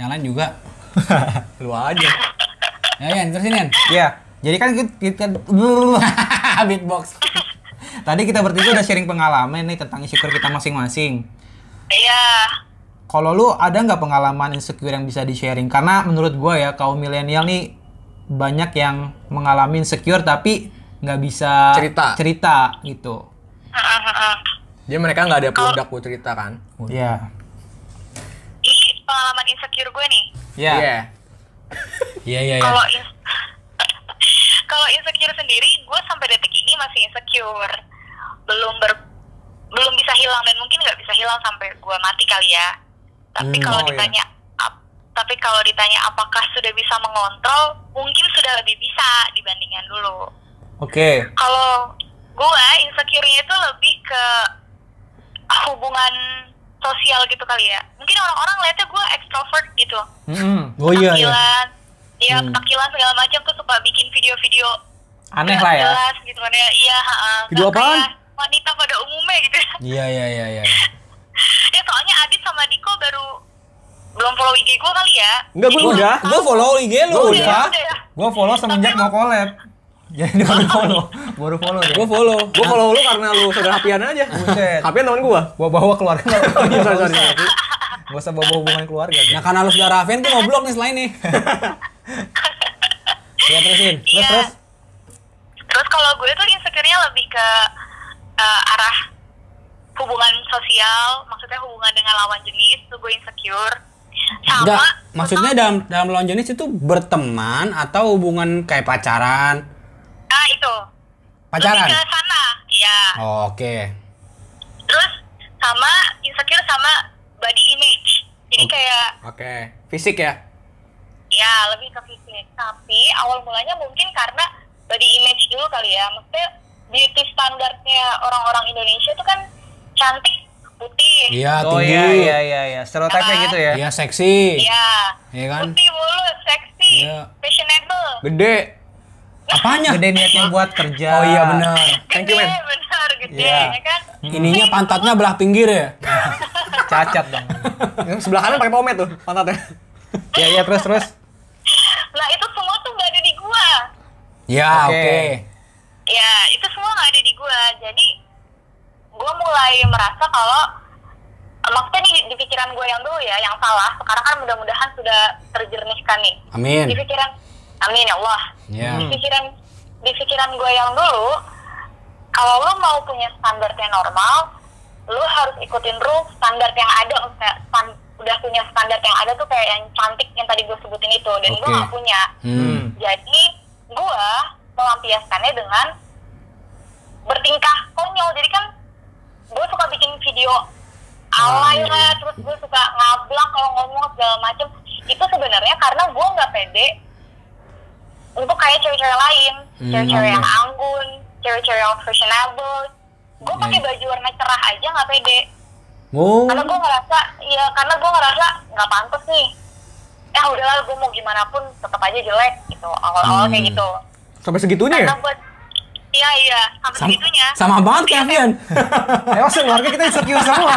[SPEAKER 3] Yang lain juga.
[SPEAKER 2] lu aja.
[SPEAKER 3] Ya, Yan, terusin Yan.
[SPEAKER 1] Ya, jadi kan kita, kita beatbox. Tadi kita bertiga udah sharing pengalaman nih tentang insecure kita masing-masing.
[SPEAKER 4] Iya.
[SPEAKER 1] Kalau lu ada nggak pengalaman insecure yang bisa di-sharing? Karena menurut gua ya kaum milenial nih banyak yang mengalami insecure tapi nggak bisa
[SPEAKER 2] Cerita.
[SPEAKER 1] cerita gitu.
[SPEAKER 4] Heeh, heeh.
[SPEAKER 2] Jadi mereka nggak ada produk buat cerita kan?
[SPEAKER 1] Ya.
[SPEAKER 4] Ini pengalaman insecure gue nih.
[SPEAKER 1] Ya.
[SPEAKER 2] Iya.
[SPEAKER 3] Iya, iya, iya.
[SPEAKER 4] Kalau in- kalau insecure sendiri, gue sampai detik ini masih insecure, belum ber belum bisa hilang dan mungkin nggak bisa hilang sampai gue mati kali ya. Tapi
[SPEAKER 1] Hmm, oh
[SPEAKER 4] kalau
[SPEAKER 1] iya.
[SPEAKER 4] ditanya ap- Tapi kalau ditanya apakah sudah bisa mengontrol, mungkin sudah lebih bisa dibandingkan dulu.
[SPEAKER 1] Oke.
[SPEAKER 4] Kalau gue insecure-nya itu lebih ke hubungan sosial gitu kali ya. Mungkin orang-orang lihatnya gue extrovert gitu.
[SPEAKER 1] Mm-mm.
[SPEAKER 2] Oh iya, iya.
[SPEAKER 4] Ketakilan, iya. ketakilan segala macam tuh suka bikin video-video
[SPEAKER 1] Aneh
[SPEAKER 4] nggak
[SPEAKER 1] lah ya.
[SPEAKER 4] Jelas gitu kan ya. Iya, heeh.
[SPEAKER 2] Video
[SPEAKER 4] Nggak
[SPEAKER 2] apaan?
[SPEAKER 4] kayak Wanita pada umumnya gitu.
[SPEAKER 3] Iya iya iya iya.
[SPEAKER 4] ya soalnya Adit sama Diko baru belum follow IG gue kali ya.
[SPEAKER 2] Enggak, gue
[SPEAKER 4] Jadi
[SPEAKER 2] udah.
[SPEAKER 4] belum
[SPEAKER 3] Gue
[SPEAKER 4] tahu.
[SPEAKER 3] follow IG lu
[SPEAKER 4] Udah,
[SPEAKER 3] udah.
[SPEAKER 4] udah ya.
[SPEAKER 1] Gue follow semenjak mau collab. Jadi baru follow. Baru follow ya. deh.
[SPEAKER 3] Gue follow.
[SPEAKER 2] Gue follow lu karena lu saudara Hapian aja.
[SPEAKER 1] Buset.
[SPEAKER 2] Hapian teman gue.
[SPEAKER 1] Gua bawa keluarga.
[SPEAKER 2] Sorry, sorry.
[SPEAKER 1] Gak usah bawa hubungan keluarga.
[SPEAKER 3] Nah karena lu sudah Raven, gue ngoblok nih selain nih. Iya terusin.
[SPEAKER 1] Terus,
[SPEAKER 4] Iya.
[SPEAKER 1] terus.
[SPEAKER 4] Terus kalau gue tuh insecure-nya lebih ke eh, arah hubungan sosial, maksudnya hubungan dengan lawan jenis tuh gue insecure. Sama
[SPEAKER 3] Enggak, maksudnya dalam dalam lawan jenis itu berteman atau hubungan kayak pacaran?
[SPEAKER 4] ah itu.
[SPEAKER 3] Pacaran.
[SPEAKER 4] Lebih ke sana. Iya.
[SPEAKER 3] Oke.
[SPEAKER 4] Terus sama insecure sama body image. Jadi
[SPEAKER 3] Oke.
[SPEAKER 4] kayak
[SPEAKER 3] Oke. Fisik ya?
[SPEAKER 4] Ya, lebih ke fisik. Tapi awal mulanya mungkin karena body image dulu kali ya. Maksudnya beauty standarnya orang-orang Indonesia itu kan cantik, putih.
[SPEAKER 3] Iya,
[SPEAKER 1] Oh
[SPEAKER 3] tinggi.
[SPEAKER 1] iya iya iya iya. Stereotipnya
[SPEAKER 4] Apaan?
[SPEAKER 1] gitu ya.
[SPEAKER 3] Iya, seksi.
[SPEAKER 4] Iya.
[SPEAKER 3] Iya kan?
[SPEAKER 4] Putih, mulus, seksi,
[SPEAKER 3] Iya.
[SPEAKER 4] fashionable.
[SPEAKER 2] Gede.
[SPEAKER 3] Apanya?
[SPEAKER 1] Gede niatnya buat kerja.
[SPEAKER 3] Iya. Oh iya benar.
[SPEAKER 2] Thank you,
[SPEAKER 4] Gede,
[SPEAKER 2] man.
[SPEAKER 4] benar, gede,
[SPEAKER 1] Iya.
[SPEAKER 4] ya kan?
[SPEAKER 3] Ininya pantatnya belah pinggir ya?
[SPEAKER 1] Cacat dong.
[SPEAKER 2] Yang sebelah kanan pakai pomade tuh, pantatnya.
[SPEAKER 1] Iya iya terus terus.
[SPEAKER 4] Nah, itu semua tuh nggak ada di gua.
[SPEAKER 3] Ya,
[SPEAKER 1] Oke.
[SPEAKER 3] oke.
[SPEAKER 4] Ya, itu semua nggak ada di gua. Jadi, gua mulai merasa kalau maksudnya di, di pikiran gue yang dulu ya, yang salah. Sekarang kan mudah-mudahan sudah terjernihkan nih.
[SPEAKER 3] Amin.
[SPEAKER 4] di pikiran amin ya Allah
[SPEAKER 3] Ya.
[SPEAKER 4] di pikiran di pikiran gue yang dulu kalau lo mau punya standar yang normal lo harus ikutin rules standar yang ada Maksudnya, stan- udah punya standar yang ada tuh kayak yang cantik yang tadi gue sebutin itu dan gue
[SPEAKER 3] Oke.
[SPEAKER 4] gak punya
[SPEAKER 3] Hmm.
[SPEAKER 4] jadi gue melampiaskannya dengan bertingkah konyol jadi kan gue suka bikin video alay lah terus gue suka ngablak kalau ngomong segala macem itu sebenarnya karena gue nggak pede untuk kayak cewek-cewek lain cewek-cewek yang anggun cewek-cewek yang fashionable gue pakai baju warna cerah aja nggak pede
[SPEAKER 3] Oh.
[SPEAKER 4] karena gue ngerasa ya karena gue ngerasa nggak pantas nih ya udahlah gue mau gimana pun tetap aja jelek gitu awal-awal
[SPEAKER 3] Hmm.
[SPEAKER 4] kayak gitu
[SPEAKER 2] Sampai segitunya ya?
[SPEAKER 4] karena buat iya iya sampai
[SPEAKER 3] Sama,
[SPEAKER 4] segitunya
[SPEAKER 3] sama banget kayak Avian.
[SPEAKER 1] Emang keluarga kita insecure semua.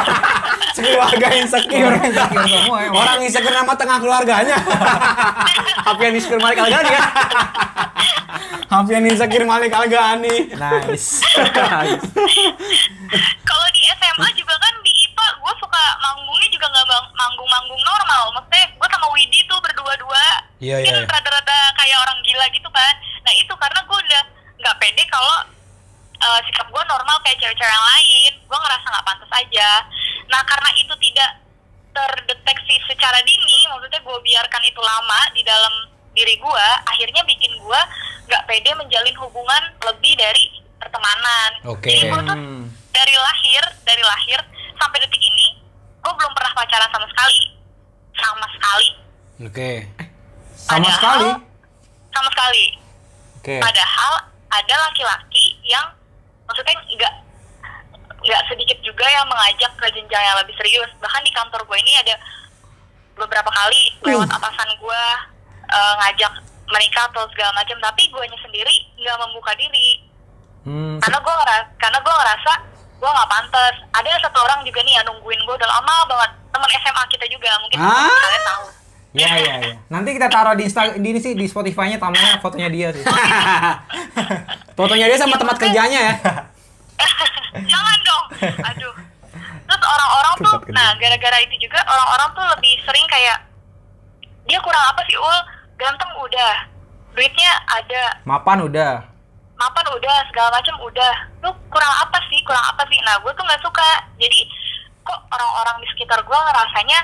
[SPEAKER 2] Keluarga insecure.
[SPEAKER 1] Orang insecure semua emang.
[SPEAKER 3] Orang insecure nama tengah keluarganya.
[SPEAKER 2] Hapian insecure Malik Al-Ghani ya.
[SPEAKER 3] Avian insecure Malik Al-Ghani.
[SPEAKER 1] Nice.
[SPEAKER 4] kalau di SMA juga kan di IPA gue suka manggungnya juga nggak bang- manggung-manggung normal maksudnya gue sama Widi tuh berdua-dua
[SPEAKER 3] Iya, iya,
[SPEAKER 4] kan
[SPEAKER 3] iya.
[SPEAKER 4] rada-rada kayak orang gila gitu kan nah itu karena gue udah nggak pede kalau eh, sikap gue normal kayak cewek-cewek yang lain gue ngerasa nggak pantas aja nah karena itu tidak terdeteksi secara dini maksudnya gue biarkan itu lama di dalam diri gue akhirnya bikin gue nggak pede menjalin hubungan lebih dari pertemanan
[SPEAKER 3] Oke.
[SPEAKER 4] Jadi gue tuh
[SPEAKER 1] Hmm.
[SPEAKER 4] dari lahir dari lahir sampai detik ini gue belum pernah pacaran sama sekali sama sekali
[SPEAKER 3] Oke.
[SPEAKER 1] Sama
[SPEAKER 4] Padahal-
[SPEAKER 1] sekali.
[SPEAKER 4] sama sekali
[SPEAKER 1] Oke.
[SPEAKER 4] padahal ada laki-laki yang maksudnya nggak nggak sedikit juga yang mengajak ke jenjang yang lebih serius bahkan di kantor gue ini ada beberapa kali lewat atasan gue eh, ngajak mereka atau segala macam tapi gue sendiri nggak membuka diri
[SPEAKER 1] Hmm.
[SPEAKER 4] karena gue ngerasa karena gue ngerasa gue nggak pantas ada satu orang juga nih yang nungguin gue udah lama banget teman SMA kita juga mungkin
[SPEAKER 3] Ah.
[SPEAKER 4] kalian tahu
[SPEAKER 1] Iya iya iya. Nanti kita taruh di Insta di ini sih di Spotify-nya tampilnya fotonya dia sih.
[SPEAKER 3] Fotonya dia sama tempat kerjanya ya.
[SPEAKER 4] jangan dong aduh terus orang-orang tuh
[SPEAKER 2] Tempat kerja.
[SPEAKER 4] nah gara-gara itu juga orang-orang tuh lebih sering kayak dia kurang apa sih ul ganteng udah duitnya ada
[SPEAKER 1] Mapan udah.
[SPEAKER 4] mapan udah segala macam udah lu kurang apa sih kurang apa sih nah gue tuh nggak suka jadi kok orang-orang di sekitar gue ngerasanya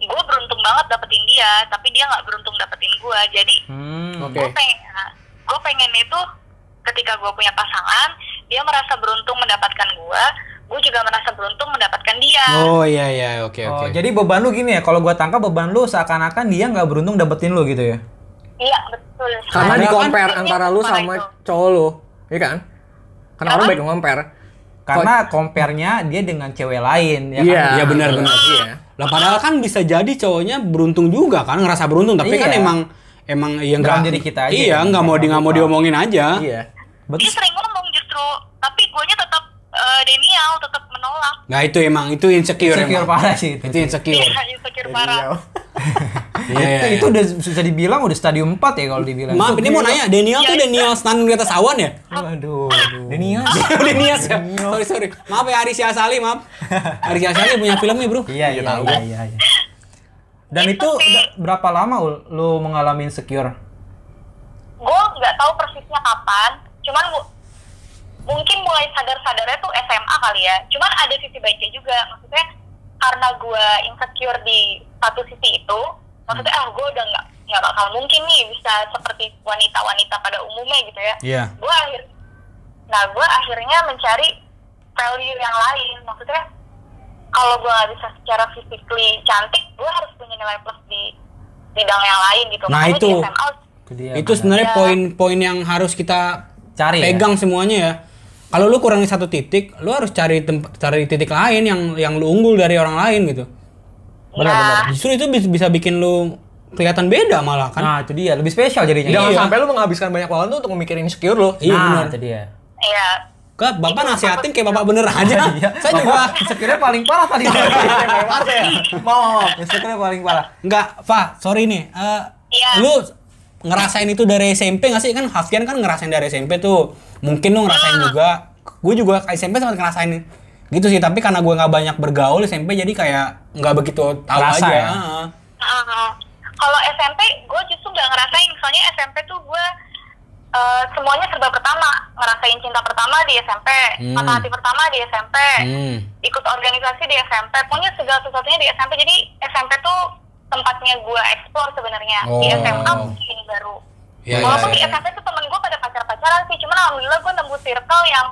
[SPEAKER 4] gue beruntung banget dapetin dia tapi dia nggak beruntung dapetin gue jadi
[SPEAKER 1] Hmm.
[SPEAKER 3] Oke.
[SPEAKER 4] gue pengen gue pengen itu ketika gue punya pasangan dia merasa beruntung mendapatkan gue gue juga merasa beruntung mendapatkan dia.
[SPEAKER 3] Oh iya iya oke
[SPEAKER 1] Oh,
[SPEAKER 3] oke.
[SPEAKER 1] jadi beban lu gini ya, kalau gua tangkap beban lu seakan-akan dia nggak beruntung dapetin lu gitu ya.
[SPEAKER 4] Iya betul.
[SPEAKER 1] Nah,
[SPEAKER 2] Karena
[SPEAKER 4] Ada
[SPEAKER 2] di compare
[SPEAKER 4] kan
[SPEAKER 2] antara lu
[SPEAKER 4] stigma
[SPEAKER 2] sama
[SPEAKER 4] itu.
[SPEAKER 2] cowok lu, iya kan? Karena orang baik compare.
[SPEAKER 1] Karena compare-nya dia dengan cewek lain ya
[SPEAKER 2] Iya.
[SPEAKER 1] kan?
[SPEAKER 3] Iya benar benar.
[SPEAKER 2] Iya.
[SPEAKER 3] Lah padahal kan bisa jadi cowoknya beruntung juga kan ngerasa beruntung tapi kan
[SPEAKER 1] Iya.
[SPEAKER 3] emang emang iya
[SPEAKER 1] Dalam
[SPEAKER 3] nggak
[SPEAKER 1] diri kita aja
[SPEAKER 3] Iya
[SPEAKER 1] kan,
[SPEAKER 3] nggak mau di
[SPEAKER 1] nggak
[SPEAKER 3] nggak mau
[SPEAKER 1] kita.
[SPEAKER 3] diomongin aja.
[SPEAKER 2] Iya.
[SPEAKER 1] kan? Betul.
[SPEAKER 4] Dia sering ngomong justru, tapi guanya tetap eh, denial, tetap menolak.
[SPEAKER 3] Nah itu emang itu insecure,
[SPEAKER 1] Insecure
[SPEAKER 3] emang.
[SPEAKER 1] parah sih itu.
[SPEAKER 3] Itu insecure.
[SPEAKER 4] Iya, insecure parah.
[SPEAKER 3] Iya iya,
[SPEAKER 1] Itu,
[SPEAKER 3] iya.
[SPEAKER 1] itu udah bisa dibilang udah stadium 4 ya kalau dibilang.
[SPEAKER 3] Maaf ini mau nanya Daniel tuh
[SPEAKER 4] Iya, iya.
[SPEAKER 3] Daniel senandung di atas awan ya?
[SPEAKER 1] Aduh, aduh.
[SPEAKER 2] Denial.
[SPEAKER 3] Daniel ya. Sorry sorry. Maaf ya Aris Asali maaf. Aris Asali punya filmnya bro.
[SPEAKER 1] Iya, iya, iya, iya, iya. Dan itu udah berapa lama Ul, lu mengalami insecure?
[SPEAKER 4] Gue nggak tahu persisnya kapan, cuman mu- mungkin mulai sadar-sadarnya tuh SMA kali ya. Cuman ada sisi baiknya juga, maksudnya karena gue insecure di satu sisi itu, maksudnya ah gue udah nggak nggak bakal mungkin nih bisa seperti wanita-wanita pada umumnya gitu ya.
[SPEAKER 3] Iya.
[SPEAKER 4] Gue akhir, nah gue akhirnya mencari value yang lain, maksudnya kalau gue nggak bisa secara physically cantik, gue harus punya nilai plus di bidang yang lain gitu.
[SPEAKER 3] Nah,
[SPEAKER 4] Makanya di
[SPEAKER 3] itu.
[SPEAKER 4] SMA
[SPEAKER 1] Ke dia, kan
[SPEAKER 3] itu
[SPEAKER 1] Nanda.
[SPEAKER 3] sebenarnya
[SPEAKER 4] Ya.
[SPEAKER 3] poin-poin yang harus kita
[SPEAKER 1] Iya, Cari ya?
[SPEAKER 3] pegang semuanya ya kalau lu kurangin satu titik lu harus cari tempat cari titik lain yang yang lu unggul dari orang lain gitu
[SPEAKER 4] Benar-benar.
[SPEAKER 3] justru itu bis- bisa bikin lu kelihatan beda malah kan
[SPEAKER 1] Nah, itu dia, lebih spesial jadinya.
[SPEAKER 2] Jangan
[SPEAKER 3] Iya.
[SPEAKER 2] sampai lu menghabiskan banyak waktu tuh untuk mikirin insecure lu.
[SPEAKER 3] iya
[SPEAKER 1] nah,
[SPEAKER 3] benar
[SPEAKER 1] itu dia.
[SPEAKER 4] Iya.
[SPEAKER 3] Kak, bapak nasihatin kayak bapak bener aja
[SPEAKER 1] Iya.
[SPEAKER 3] saya juga
[SPEAKER 1] Bapak, insecure-nya paling parah tadi. Paling parah ya? Mau, mau, mau. Insecure-nya paling parah.
[SPEAKER 3] nggak Fa sorry nih Eh,
[SPEAKER 4] Iya.
[SPEAKER 3] lu ngerasain itu dari SMP nggak sih kan Hafian kan ngerasain dari SMP tuh mungkin lu ngerasain
[SPEAKER 4] Iya.
[SPEAKER 3] juga gue juga SMP sempat ngerasain gitu sih tapi karena gue nggak banyak bergaul SMP jadi kayak nggak begitu tahu
[SPEAKER 1] Ngerasa
[SPEAKER 3] aja
[SPEAKER 1] ya?
[SPEAKER 3] Heeh.
[SPEAKER 4] Uh, kalau SMP, gue justru nggak ngerasain. Soalnya SMP tuh gue uh, semuanya serba pertama. Ngerasain cinta pertama di SMP,
[SPEAKER 3] Hmm.
[SPEAKER 4] patah hati pertama di SMP,
[SPEAKER 3] Hmm.
[SPEAKER 4] ikut organisasi di SMP. Punya segala sesuatunya di SMP. Jadi SMP tuh tempatnya gue eksplor sebenarnya. Di
[SPEAKER 3] Oh.
[SPEAKER 4] SMA mungkin baru.
[SPEAKER 3] Iya,
[SPEAKER 4] Walaupun
[SPEAKER 3] iya,
[SPEAKER 4] di SMP tuh temen gue pada pacar-pacaran sih. Cuman alhamdulillah gue nemu circle yang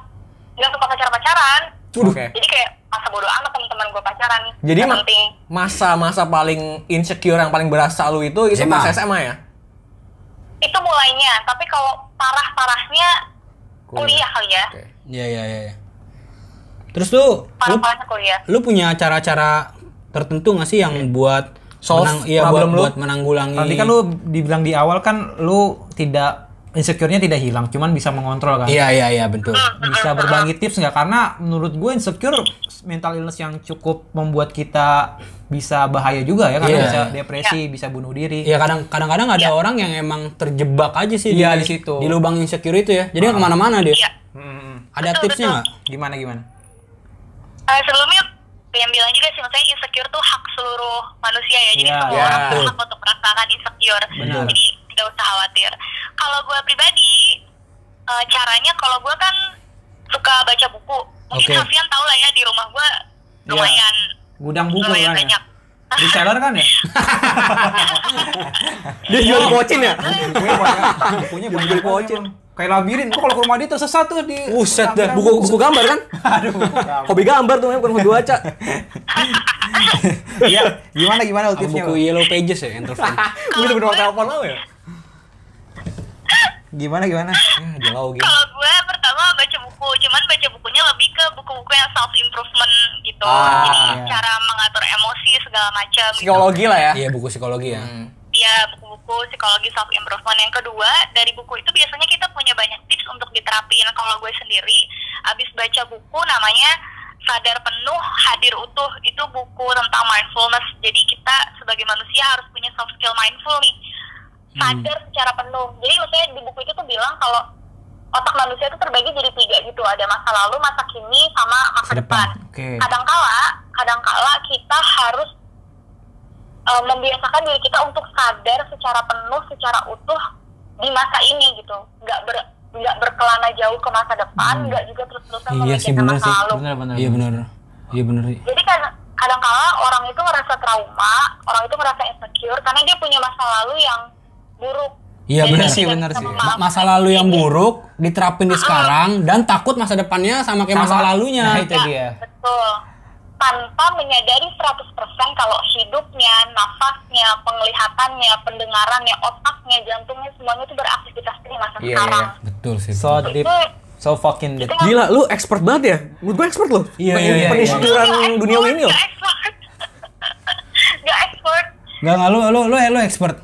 [SPEAKER 4] nggak suka pacar-pacaran.
[SPEAKER 1] Oke.
[SPEAKER 4] Jadi kayak masa bodo amat teman-teman gue pacaran.
[SPEAKER 2] Jadi
[SPEAKER 4] Nggak
[SPEAKER 2] ma-
[SPEAKER 4] penting.
[SPEAKER 2] masa-masa paling insecure yang paling berasa lu itu itu
[SPEAKER 3] SMA.
[SPEAKER 2] pas SMA ya?
[SPEAKER 4] itu mulainya tapi kalau parah parahnya kuliah kali ya
[SPEAKER 2] Oke.
[SPEAKER 3] Iya iya iya. iya. Terus tuh lu,
[SPEAKER 4] parah parahnya kuliah
[SPEAKER 3] lu punya cara-cara tertentu nggak sih yang buat
[SPEAKER 2] Solve
[SPEAKER 3] iya, buat,
[SPEAKER 2] problem lu?
[SPEAKER 3] buat menanggulangi
[SPEAKER 1] Tadi kan lu dibilang di awal kan lu tidak insecure-nya tidak hilang, cuman bisa mengontrol kan.
[SPEAKER 3] Iya iya iya betul.
[SPEAKER 4] Ah.
[SPEAKER 1] Bisa berbagi tips nggak? Karena menurut gue insecure mental illness yang cukup membuat kita bisa bahaya juga ya karena
[SPEAKER 3] Iya.
[SPEAKER 1] bisa depresi, bisa bunuh diri.
[SPEAKER 3] Iya kadang kadang-kadang ada orang yang emang terjebak aja sih
[SPEAKER 1] Iya, di situ.
[SPEAKER 3] di lubang insecure itu ya. Jadi nggak kemana-mana dia.
[SPEAKER 4] Iya.
[SPEAKER 1] Hmm,
[SPEAKER 3] Ada
[SPEAKER 4] Betul,
[SPEAKER 3] tipsnya
[SPEAKER 4] betul.
[SPEAKER 3] nggak?
[SPEAKER 1] Gimana gimana?
[SPEAKER 4] Eh, sebelumnya yang bilang juga sih maksudnya insecure tuh hak seluruh manusia ya jadi
[SPEAKER 1] Iya,
[SPEAKER 4] semua
[SPEAKER 2] iya.
[SPEAKER 4] orang tuh hak untuk merasakan insecure
[SPEAKER 1] Benar.
[SPEAKER 4] jadi tidak usah khawatir kalau gue pribadi eh, caranya kalau gue kan suka baca buku mungkin
[SPEAKER 3] Oke.
[SPEAKER 4] Alfian tau lah ya di rumah gue
[SPEAKER 1] Iya.
[SPEAKER 4] lumayan
[SPEAKER 1] Gudang buku
[SPEAKER 4] lumayan
[SPEAKER 1] kan ya?
[SPEAKER 4] banyak
[SPEAKER 1] Reseller kan ya? Oh.
[SPEAKER 2] Dia jual pocin ya?
[SPEAKER 1] Iya, Bukunya banyak. Bukunya banyak pocin. Kayak labirin. Gua kalau ke rumah dia tersesat tuh di
[SPEAKER 3] Buset dah,
[SPEAKER 2] Buku buku gambar kan?
[SPEAKER 1] Aduh. buku-
[SPEAKER 2] Hobi gambar tuh bukan hobi baca.
[SPEAKER 1] Iya, gimana gimana
[SPEAKER 3] Apa
[SPEAKER 1] tipsnya?
[SPEAKER 3] buku
[SPEAKER 1] Bang?
[SPEAKER 3] Yellow Pages ya yang telepon.
[SPEAKER 2] Gue udah bener telepon lu ya?
[SPEAKER 1] Gimana gimana?
[SPEAKER 2] Ya, jelau gitu.
[SPEAKER 4] Kalau gue pertama baca buku, cuman baca bukunya lebih ke buku-buku yang self improvement gitu.
[SPEAKER 2] Ah,
[SPEAKER 4] Jadi
[SPEAKER 1] iya.
[SPEAKER 4] cara mengatur emosi segala macam. gitu.
[SPEAKER 2] Psikologi lah ya.
[SPEAKER 3] Iya buku psikologi ya.
[SPEAKER 2] Hmm.
[SPEAKER 4] Ya buku-buku psikologi self improvement yang kedua dari buku itu biasanya kita punya banyak tips untuk diterapin. Kalau gue sendiri abis baca buku namanya sadar penuh hadir utuh itu buku tentang mindfulness. Jadi kita sebagai manusia harus punya soft skill mindful nih sadar secara penuh. Jadi maksudnya di buku itu tuh bilang kalau otak manusia itu terbagi jadi tiga gitu, ada masa lalu, masa kini, sama masa depan.
[SPEAKER 1] Oke.
[SPEAKER 3] Hmm.
[SPEAKER 4] Kadangkala, kadangkala kita harus eh, membiasakan diri kita untuk sadar secara penuh, secara utuh di masa ini gitu, nggak ber nggak berkelana jauh ke masa depan, nggak juga terus-terusan
[SPEAKER 3] Hmm. Iya sih,
[SPEAKER 4] memikirkan
[SPEAKER 3] bener
[SPEAKER 4] masa
[SPEAKER 3] sih.
[SPEAKER 4] lalu
[SPEAKER 1] Benar benar.
[SPEAKER 3] Iya benar. Iya benar.
[SPEAKER 4] jadi kan kadangkala orang itu ngerasa trauma orang itu ngerasa insecure karena dia punya masa lalu yang buruk
[SPEAKER 3] Iya
[SPEAKER 4] Jadi
[SPEAKER 3] benar
[SPEAKER 4] tidak
[SPEAKER 3] sih,
[SPEAKER 4] bisa
[SPEAKER 3] benar sih. Ma-
[SPEAKER 4] memaafkan
[SPEAKER 3] Masa lalu yang buruk diterapin di sekarang dan takut masa depannya sama kayak masa
[SPEAKER 1] Sama.
[SPEAKER 3] lalunya.
[SPEAKER 1] Nah, itu
[SPEAKER 4] Ya,
[SPEAKER 2] Iya.
[SPEAKER 1] dia.
[SPEAKER 4] Betul. Tanpa menyadari 100% kalau hidupnya, nafasnya, penglihatannya, pendengarannya, otaknya, jantungnya, semuanya itu beraktivitas di masa
[SPEAKER 1] Iya,
[SPEAKER 4] sekarang.
[SPEAKER 1] iya.
[SPEAKER 3] Betul sih.
[SPEAKER 1] So deep. So fucking deep.
[SPEAKER 2] Gila, lu expert banget ya? Menurut gue expert loh.
[SPEAKER 3] Iya, iya, iya,
[SPEAKER 2] Penyisiran duniawi ini loh.
[SPEAKER 4] Gak expert. Gak expert.
[SPEAKER 3] Enggak enggak lu lu lu, lu expert.
[SPEAKER 1] eh,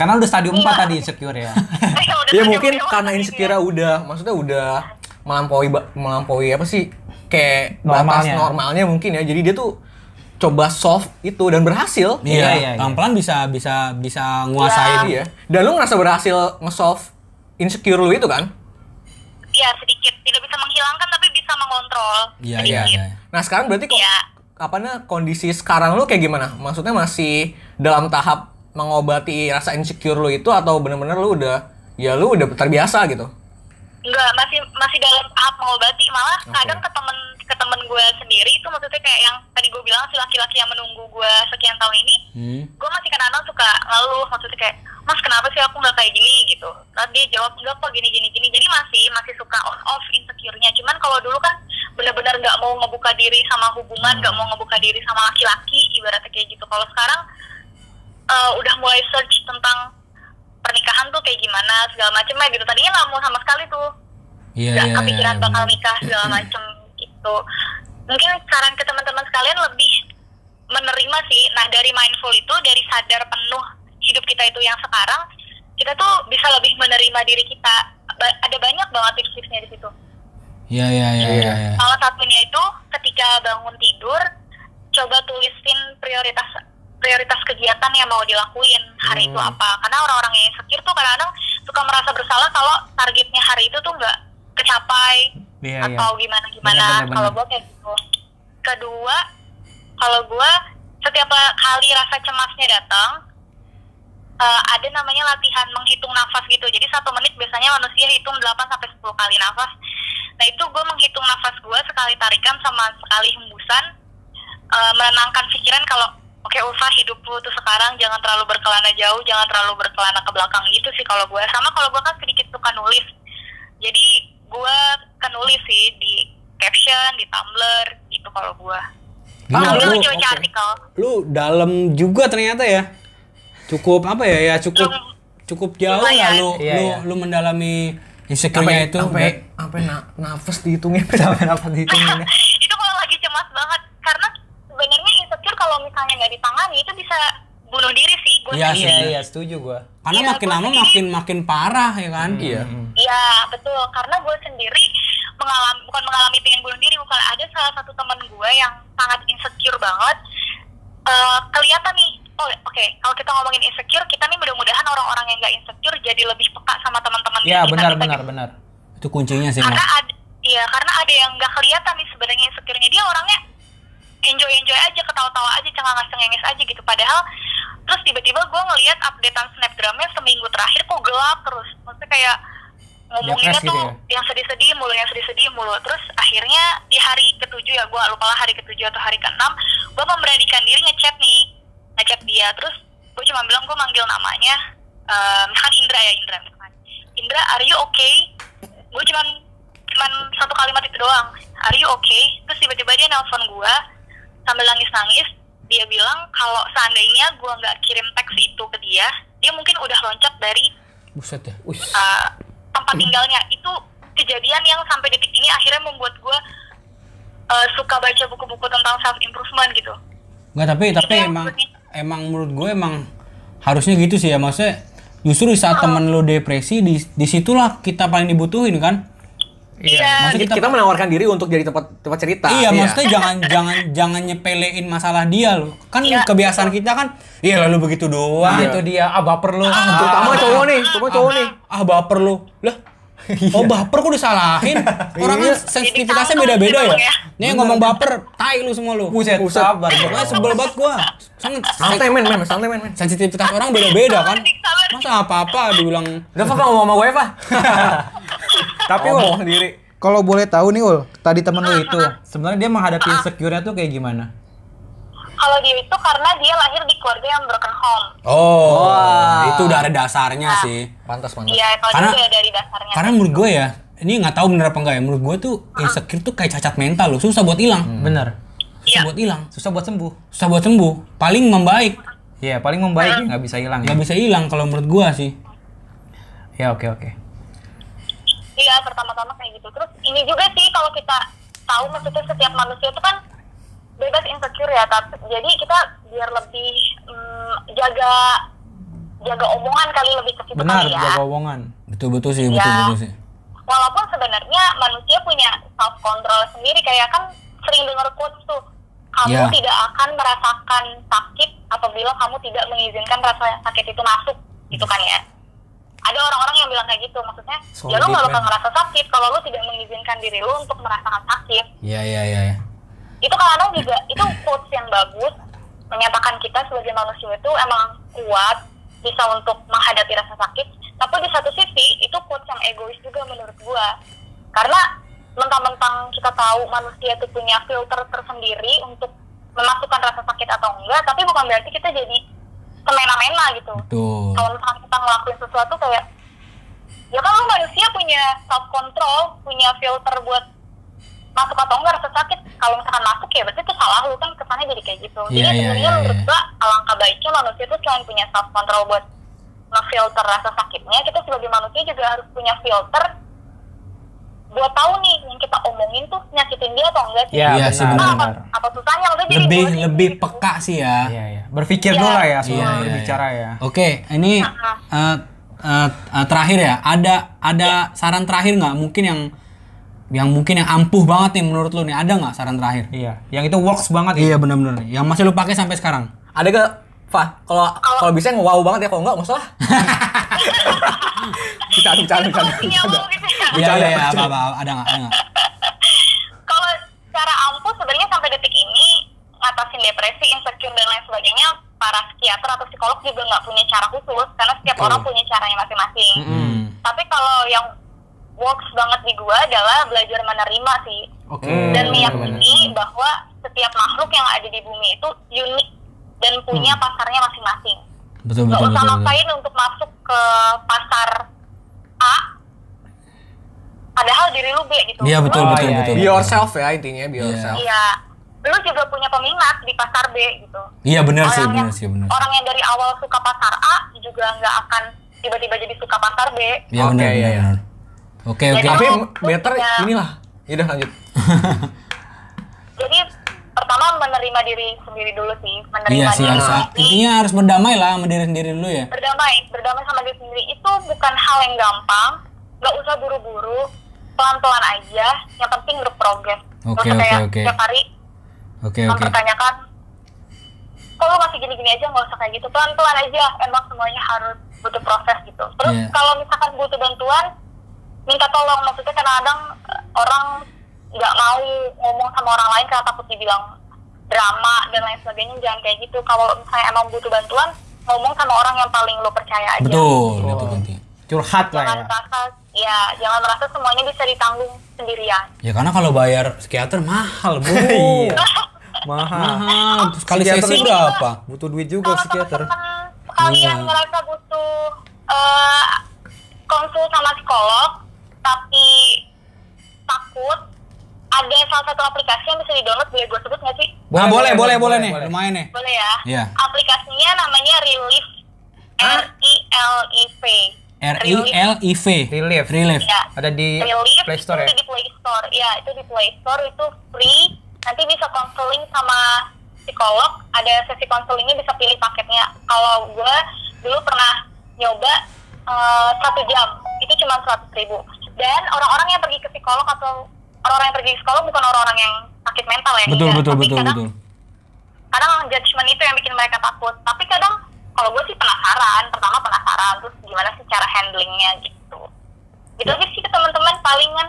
[SPEAKER 1] Karena udah stadium 4 tadi insecure ya.
[SPEAKER 4] Ya, udah ya.
[SPEAKER 2] Ya
[SPEAKER 4] tadi
[SPEAKER 2] mungkin
[SPEAKER 4] aku bilang
[SPEAKER 2] karena
[SPEAKER 4] tadi
[SPEAKER 2] insecure
[SPEAKER 4] dia.
[SPEAKER 2] udah, maksudnya udah melampaui ba- melampaui apa sih? Kayak batas
[SPEAKER 1] Normalnya.
[SPEAKER 2] normalnya mungkin ya. Jadi dia tuh coba solve itu dan berhasil.
[SPEAKER 1] Iya, iya, iya.
[SPEAKER 3] Pelan-pelan bisa bisa bisa nguasain.
[SPEAKER 2] Iya. Dan lu ngerasa berhasil nge-solve insecure lu itu kan?
[SPEAKER 4] Iya, sedikit. Tidak bisa menghilangkan tapi bisa mengontrol.
[SPEAKER 3] Iya, iya,
[SPEAKER 4] Sedikit.
[SPEAKER 3] iya.
[SPEAKER 2] Nah sekarang berarti kok
[SPEAKER 4] Iya.
[SPEAKER 2] apa nah, kondisi sekarang lu kayak gimana? Maksudnya masih dalam tahap mengobati rasa insecure lu itu atau bener-bener lu udah ya lu udah terbiasa gitu?
[SPEAKER 4] Enggak, masih masih dalam tahap mengobati. Malah kadang ke temen ke temen gue sendiri itu maksudnya kayak yang tadi gue bilang si laki-laki yang menunggu gue sekian tahun ini,
[SPEAKER 3] Hmm.
[SPEAKER 4] gue masih kadang-kadang suka ngeluh maksudnya kayak mas kenapa sih aku nggak kayak gini gitu lalu dia jawab enggak kok gini gini gini jadi masih masih suka on off insecure-nya cuman kalau dulu kan benar-benar nggak mau ngebuka diri sama hubungan nggak mau ngebuka diri sama laki-laki ibaratnya kayak gitu kalau sekarang eh, udah mulai search tentang pernikahan tuh kayak gimana segala macemnya gitu tadinya nggak mau sama sekali tuh
[SPEAKER 3] Iya,
[SPEAKER 4] nggak
[SPEAKER 3] iya,
[SPEAKER 4] kepikiran
[SPEAKER 3] iya,
[SPEAKER 4] bakal
[SPEAKER 3] benar.
[SPEAKER 4] nikah segala macem gitu mungkin saran ke teman-teman sekalian lebih menerima sih nah dari mindful itu dari sadar penuh hidup kita itu yang sekarang kita tuh bisa lebih menerima diri kita Ba- ada banyak banget tips-tipsnya di situ
[SPEAKER 3] Iya, iya, iya, iya, iya.
[SPEAKER 4] salah satunya itu ketika bangun tidur coba tulisin prioritas prioritas kegiatan yang mau dilakuin hari itu
[SPEAKER 1] Hmm.
[SPEAKER 4] apa karena orang-orang yang insecure tuh kadang-kadang suka merasa bersalah kalau targetnya hari itu tuh nggak kecapai
[SPEAKER 1] Iya, iya.
[SPEAKER 4] atau gimana gimana
[SPEAKER 1] Benar, benar,
[SPEAKER 4] kalau
[SPEAKER 1] benar.
[SPEAKER 4] gue kayak gitu kedua kalau gue setiap kali rasa cemasnya datang eh, ada namanya latihan menghitung nafas gitu jadi satu menit biasanya manusia hitung 8 sampai 10 kali nafas nah itu gue menghitung nafas gue sekali tarikan sama sekali hembusan eh, menenangkan pikiran kalau oke Ulfa hidup lu tuh sekarang jangan terlalu berkelana jauh jangan terlalu berkelana ke belakang gitu sih kalau gue sama kalau gue kan sedikit suka nulis jadi gue kenulis sih di caption di tumblr gitu kalau gue
[SPEAKER 3] Gila,
[SPEAKER 4] Tumblr
[SPEAKER 3] lu-
[SPEAKER 4] lu coba cari artikel
[SPEAKER 3] lu dalam juga ternyata ya cukup apa ya ya cukup
[SPEAKER 4] Lum-
[SPEAKER 3] cukup jauh lah
[SPEAKER 4] lumayan.
[SPEAKER 3] lu
[SPEAKER 1] Iya,
[SPEAKER 3] lu
[SPEAKER 1] iya.
[SPEAKER 3] lu mendalami insecure-nya itu
[SPEAKER 2] sampai sampai na- nafas dihitungin.
[SPEAKER 1] Sampai apa dihitunginnya?
[SPEAKER 4] itu kalau lagi cemas banget karena sebenarnya insecure kalau misalnya nggak ditangani itu bisa bunuh diri sih gue
[SPEAKER 3] Iya sih.
[SPEAKER 1] Iya, iya, setuju gua.
[SPEAKER 3] karena
[SPEAKER 4] Iya,
[SPEAKER 3] makin
[SPEAKER 4] gua
[SPEAKER 3] lama
[SPEAKER 4] sendiri.
[SPEAKER 3] makin makin parah ya kan
[SPEAKER 1] Hmm.
[SPEAKER 2] Iya.
[SPEAKER 4] Iya betul karena gue sendiri mengalami bukan mengalami pengen bunuh diri bukan ada salah satu teman gue yang sangat insecure banget Eh, kelihatan nih oh oke kalau kita ngomongin insecure kita nih mudah-mudahan orang-orang yang nggak insecure jadi lebih peka sama teman-teman
[SPEAKER 1] Iya,
[SPEAKER 4] kita,
[SPEAKER 1] benar
[SPEAKER 4] kita
[SPEAKER 1] benar
[SPEAKER 4] juga.
[SPEAKER 1] benar.
[SPEAKER 3] itu kuncinya sih
[SPEAKER 4] karena
[SPEAKER 3] Mas.
[SPEAKER 4] ada iya karena ada yang nggak kelihatan nih sebenarnya insecure-nya dia orangnya enjoy enjoy aja ketawa-tawa aja cengangas cengengis aja gitu padahal terus tiba-tiba gue ngelihat updatean snapgramnya seminggu terakhir kok gelap terus maksudnya kayak ngomonginnya
[SPEAKER 1] Depresi gitu
[SPEAKER 4] tuh
[SPEAKER 1] ya?
[SPEAKER 4] yang sedih-sedih mulu yang sedih-sedih mulu terus akhirnya di hari ketujuh ya gue lupa lah hari ketujuh atau hari keenam gue memberanikan diri ngechat nih ngechat dia terus gue cuma bilang gue manggil namanya eh, misalkan Indra ya Indra misalkan Indra are you okay gue cuman cuman satu kalimat itu doang are you okay terus tiba-tiba dia nelpon gue sambil nangis-nangis dia bilang kalau seandainya gue nggak kirim teks itu ke dia dia mungkin udah loncat dari
[SPEAKER 3] buset ya
[SPEAKER 4] uh, tempat tinggalnya itu kejadian yang sampai detik ini akhirnya membuat gue uh, suka baca buku-buku tentang self improvement gitu
[SPEAKER 3] nggak tapi tapi
[SPEAKER 4] Iya,
[SPEAKER 3] emang
[SPEAKER 4] bener.
[SPEAKER 3] emang menurut gue emang harusnya gitu sih ya maksudnya justru di saat
[SPEAKER 4] Oh.
[SPEAKER 3] temen lu depresi di disitulah kita paling dibutuhin kan
[SPEAKER 4] iya
[SPEAKER 3] Maksudnya
[SPEAKER 2] Kita,
[SPEAKER 3] kita-
[SPEAKER 2] kita menawarkan diri untuk jadi tempat tempat cerita.
[SPEAKER 3] iya, maksudnya jangan jangan jangan nyepelein masalah dia loh. Kan kebiasaan kita kan, iya lalu begitu doang.
[SPEAKER 1] Wah, itu dia. Ah, baper lu.
[SPEAKER 2] Terutama cowok nih, terutama cowok nih.
[SPEAKER 3] Ah baper lu. Lah,
[SPEAKER 2] Iya.
[SPEAKER 3] oh baper kok disalahin? Orang kan sensitivitasnya
[SPEAKER 4] Jadi
[SPEAKER 3] beda-beda ya.
[SPEAKER 4] salah ya.
[SPEAKER 3] Nih yang ngomong baper, tai lu semua lu.
[SPEAKER 1] Buset, sabar. bro.
[SPEAKER 3] Gue sebel banget gua. Sangat
[SPEAKER 2] Santai men, men, santai men, men.
[SPEAKER 3] sensitivitas orang beda-beda kan.
[SPEAKER 4] Dik, sabar, Dik.
[SPEAKER 3] Masa apa-apa dibilang
[SPEAKER 2] Udah Fa, Fa, ngomong sama gue, Fa.
[SPEAKER 1] Tapi
[SPEAKER 2] Ngomong
[SPEAKER 1] Ul,
[SPEAKER 2] sendiri.
[SPEAKER 1] kalau
[SPEAKER 3] Ah,
[SPEAKER 1] boleh tahu nih Ul, tadi temen lu itu sebenarnya dia menghadapi insecure-nya tuh kayak gimana?
[SPEAKER 4] kalau dia itu karena dia lahir di keluarga yang broken home.
[SPEAKER 3] Oh, itu udah ada dasarnya sih.
[SPEAKER 2] Pantas, pantas.
[SPEAKER 4] Iya, kalau
[SPEAKER 3] Karena-
[SPEAKER 4] itu ya dari dasarnya.
[SPEAKER 3] Karena menurut gue ya, ini nggak tahu bener apa enggak ya. Menurut gue tuh insecure tuh kayak cacat mental loh, susah buat
[SPEAKER 2] Hmm.
[SPEAKER 3] hilang.
[SPEAKER 1] Bener.
[SPEAKER 2] Iya.
[SPEAKER 3] Susah buat hilang,
[SPEAKER 1] Hmm. Susah buat sembuh.
[SPEAKER 3] susah buat sembuh. Paling membaik,
[SPEAKER 1] Iya, paling membaik nggak bisa hilang.
[SPEAKER 3] nggak
[SPEAKER 1] Ya,
[SPEAKER 3] bisa hilang kalau menurut gue sih.
[SPEAKER 1] Ya, oke oke.
[SPEAKER 4] Iya, pertama-tama kayak gitu. Terus ini juga sih kalau kita tahu maksudnya setiap manusia itu kan bebas insecure ya, tapi jadi kita biar lebih mm, jaga jaga omongan kali lebih ke situ
[SPEAKER 1] Benar,
[SPEAKER 4] kali ya.
[SPEAKER 1] jaga omongan.
[SPEAKER 3] Betul-betul sih, betul-betul
[SPEAKER 2] Iya.
[SPEAKER 3] sih.
[SPEAKER 4] Walaupun sebenarnya manusia punya self control sendiri kayak kan sering dengar quotes tuh kamu
[SPEAKER 3] Iya.
[SPEAKER 4] tidak akan merasakan sakit apabila kamu tidak mengizinkan rasa sakit itu masuk gitu kan ya. Ada orang-orang yang bilang kayak gitu maksudnya ya
[SPEAKER 1] Solid,
[SPEAKER 4] lu nggak bakal
[SPEAKER 1] man.
[SPEAKER 4] ngerasa sakit kalau lu tidak mengizinkan diri lu untuk merasakan sakit.
[SPEAKER 3] Iya, iya, iya. iya.
[SPEAKER 4] Itu kadang juga itu quotes yang bagus menyatakan kita sebagai manusia itu emang kuat bisa untuk menghadapi rasa sakit. Tapi di satu sisi itu quotes yang egois juga menurut gua. Karena mentang-mentang kita tahu manusia itu punya filter tersendiri untuk memasukkan rasa sakit atau enggak, tapi bukan berarti kita jadi semena-mena gitu
[SPEAKER 3] Betul.
[SPEAKER 4] kalau misalkan kita ngelakuin sesuatu kayak ya kan lu manusia punya self control punya filter buat masuk atau enggak rasa sakit kalau misalkan masuk ya berarti itu salah lu kan kesannya jadi kayak gitu
[SPEAKER 3] Iya, iya,
[SPEAKER 4] jadi sebenarnya
[SPEAKER 3] iya,
[SPEAKER 4] menurut
[SPEAKER 3] iya.
[SPEAKER 4] gua alangkah baiknya manusia itu selain punya self control buat ngefilter rasa sakitnya kita sebagai manusia juga harus punya filter buat tahu nih yang kita omongin tuh nyakitin dia atau enggak sih
[SPEAKER 1] Iya,
[SPEAKER 3] Iya sih,
[SPEAKER 1] benar.
[SPEAKER 4] Nah,
[SPEAKER 1] benar.
[SPEAKER 4] apa, apa susahnya udah jadi
[SPEAKER 3] Lebih
[SPEAKER 4] bodoh.
[SPEAKER 3] lebih peka sih ya.
[SPEAKER 1] Iya, iya. Berpikir
[SPEAKER 4] Iya.
[SPEAKER 1] dulu lah ya
[SPEAKER 3] Iya,
[SPEAKER 1] sebelum
[SPEAKER 3] iya,
[SPEAKER 1] berbicara
[SPEAKER 3] iya.
[SPEAKER 1] ya.
[SPEAKER 3] Oke, ini
[SPEAKER 4] Ah,
[SPEAKER 3] eh, eh, eh, terakhir ya. Ada ada saran terakhir nggak? Mungkin yang yang mungkin yang ampuh banget nih menurut lu nih. Ada nggak saran terakhir?
[SPEAKER 1] Iya, yang itu works banget ya.
[SPEAKER 3] Iya benar-benar. Yang masih lu pakai sampai sekarang.
[SPEAKER 2] Ada gak, Fa? Kalau kalau bisa yang wow banget ya, kalau enggak enggak usah. Bercanda, bercanda,
[SPEAKER 4] Jadi
[SPEAKER 2] bercanda.
[SPEAKER 4] solusinya lu gitu ya.
[SPEAKER 3] Iya,
[SPEAKER 2] Bercanda,
[SPEAKER 3] iya, iya,
[SPEAKER 2] bercanda.
[SPEAKER 3] apa, apa, ada nggak? Ada nggak?
[SPEAKER 4] kalau secara ampuh sebenarnya sampai detik ini ngatasin depresi, insecure dan lain sebagainya para psikiater atau psikolog juga nggak punya cara khusus karena setiap orang punya caranya masing-masing.
[SPEAKER 3] Hmm.
[SPEAKER 4] Tapi kalau yang works banget di gua adalah belajar menerima sih
[SPEAKER 3] Oke.
[SPEAKER 4] dan meyakini bahwa setiap makhluk yang ada di bumi itu unik dan punya
[SPEAKER 3] Mm.
[SPEAKER 4] pasarnya masing-masing.
[SPEAKER 3] Betul,
[SPEAKER 4] Nggak
[SPEAKER 3] betul,
[SPEAKER 4] usah
[SPEAKER 3] betul. betul.
[SPEAKER 4] maksain untuk masuk ke pasar A padahal diri lu B gitu.
[SPEAKER 3] Iya, betul,
[SPEAKER 1] Oh,
[SPEAKER 4] Lu
[SPEAKER 3] betul,
[SPEAKER 1] iya,
[SPEAKER 3] betul.
[SPEAKER 2] Be yourself ya intinya, be
[SPEAKER 3] Iya.
[SPEAKER 2] yourself.
[SPEAKER 4] Iya, lu juga punya peminat di pasar B gitu.
[SPEAKER 3] Iya, benar sih,
[SPEAKER 4] Orang
[SPEAKER 3] benar
[SPEAKER 4] yang-
[SPEAKER 3] sih, benar.
[SPEAKER 4] Orang yang dari awal suka pasar A juga nggak akan tiba-tiba jadi suka pasar B.
[SPEAKER 3] Iya,
[SPEAKER 2] Oke,
[SPEAKER 3] benar,
[SPEAKER 2] iya,
[SPEAKER 3] benar,
[SPEAKER 2] iya.
[SPEAKER 3] benar. Oke, oke.
[SPEAKER 4] Jadi
[SPEAKER 2] Tapi
[SPEAKER 4] lu- lu
[SPEAKER 2] better
[SPEAKER 3] Iya.
[SPEAKER 4] punya-
[SPEAKER 2] inilah. Ya udah lanjut.
[SPEAKER 4] Jadi pertama menerima diri sendiri dulu sih, menerima
[SPEAKER 3] Iya sih
[SPEAKER 4] diri
[SPEAKER 3] harus
[SPEAKER 4] sendiri.
[SPEAKER 3] intinya harus berdamai lah sama diri sendiri dulu ya.
[SPEAKER 4] Berdamai, berdamai sama diri sendiri itu bukan hal yang gampang. Nggak usah buru-buru, pelan-pelan aja. Yang penting berprogres. Nggak
[SPEAKER 3] Oke,
[SPEAKER 4] usah
[SPEAKER 3] oke,
[SPEAKER 4] kayak
[SPEAKER 3] oke.
[SPEAKER 4] Tiap hari
[SPEAKER 3] Oke, oke.
[SPEAKER 4] mempertanyakan kok lu masih gini-gini aja nggak usah kayak gitu pelan-pelan aja emang semuanya harus butuh proses gitu terus
[SPEAKER 3] Iya.
[SPEAKER 4] kalau misalkan butuh bantuan minta tolong maksudnya kadang-kadang eh, orang nggak mau ngomong sama orang lain karena takut dibilang drama dan lain sebagainya jangan kayak gitu kalau misalnya emang butuh bantuan ngomong sama orang yang paling lu percaya aja
[SPEAKER 3] Betul, gitu itu penting.
[SPEAKER 1] Curhat lah
[SPEAKER 4] jangan
[SPEAKER 1] ya.
[SPEAKER 4] merasa ya jangan merasa semuanya bisa ditanggung sendirian
[SPEAKER 3] Ya karena kalau bayar psikiater mahal, Bu.
[SPEAKER 1] Iya. Mahal.
[SPEAKER 3] Mahal. Terus Kali
[SPEAKER 1] Psikiater
[SPEAKER 3] sesi
[SPEAKER 1] ini
[SPEAKER 3] berapa?
[SPEAKER 1] Butuh duit juga
[SPEAKER 4] kalau
[SPEAKER 1] psikiater.
[SPEAKER 4] teman-teman sekalian
[SPEAKER 3] Iya.
[SPEAKER 4] merasa butuh eh, konsul sama psikolog tapi takut ada salah satu aplikasi yang bisa di-download boleh gue sebut nggak sih?
[SPEAKER 3] Nah, Boleh,
[SPEAKER 1] Boleh,
[SPEAKER 3] boleh, boleh,
[SPEAKER 1] boleh, boleh,
[SPEAKER 3] boleh nih.
[SPEAKER 1] boleh.
[SPEAKER 3] Lumayan nih.
[SPEAKER 4] Boleh ya?
[SPEAKER 3] Iya.
[SPEAKER 4] Aplikasinya namanya Relief R I L I V.
[SPEAKER 3] R I L I V.
[SPEAKER 1] Relief.
[SPEAKER 3] Relief.
[SPEAKER 4] Ya.
[SPEAKER 1] Ada di
[SPEAKER 4] Relief
[SPEAKER 1] Play Store
[SPEAKER 4] itu
[SPEAKER 1] ya.
[SPEAKER 4] di Play Store. Ya, itu di Play Store itu free. Nanti bisa konseling sama psikolog. Ada sesi konselingnya bisa pilih paketnya. Kalau gue dulu pernah nyoba eh, satu jam, itu cuma seratus ribu. Dan orang-orang yang pergi ke psikolog atau orang-orang yang pergi ke psikolog bukan orang-orang yang sakit mental ya.
[SPEAKER 3] Betul,
[SPEAKER 4] enggak.
[SPEAKER 3] betul,
[SPEAKER 4] Tapi
[SPEAKER 3] betul,
[SPEAKER 4] kadang
[SPEAKER 3] betul.
[SPEAKER 4] kadang judgement itu yang bikin mereka takut tapi kadang kalau gue sih penasaran pertama penasaran terus gimana sih cara handlingnya gitu gitu aja sih ke teman-teman palingan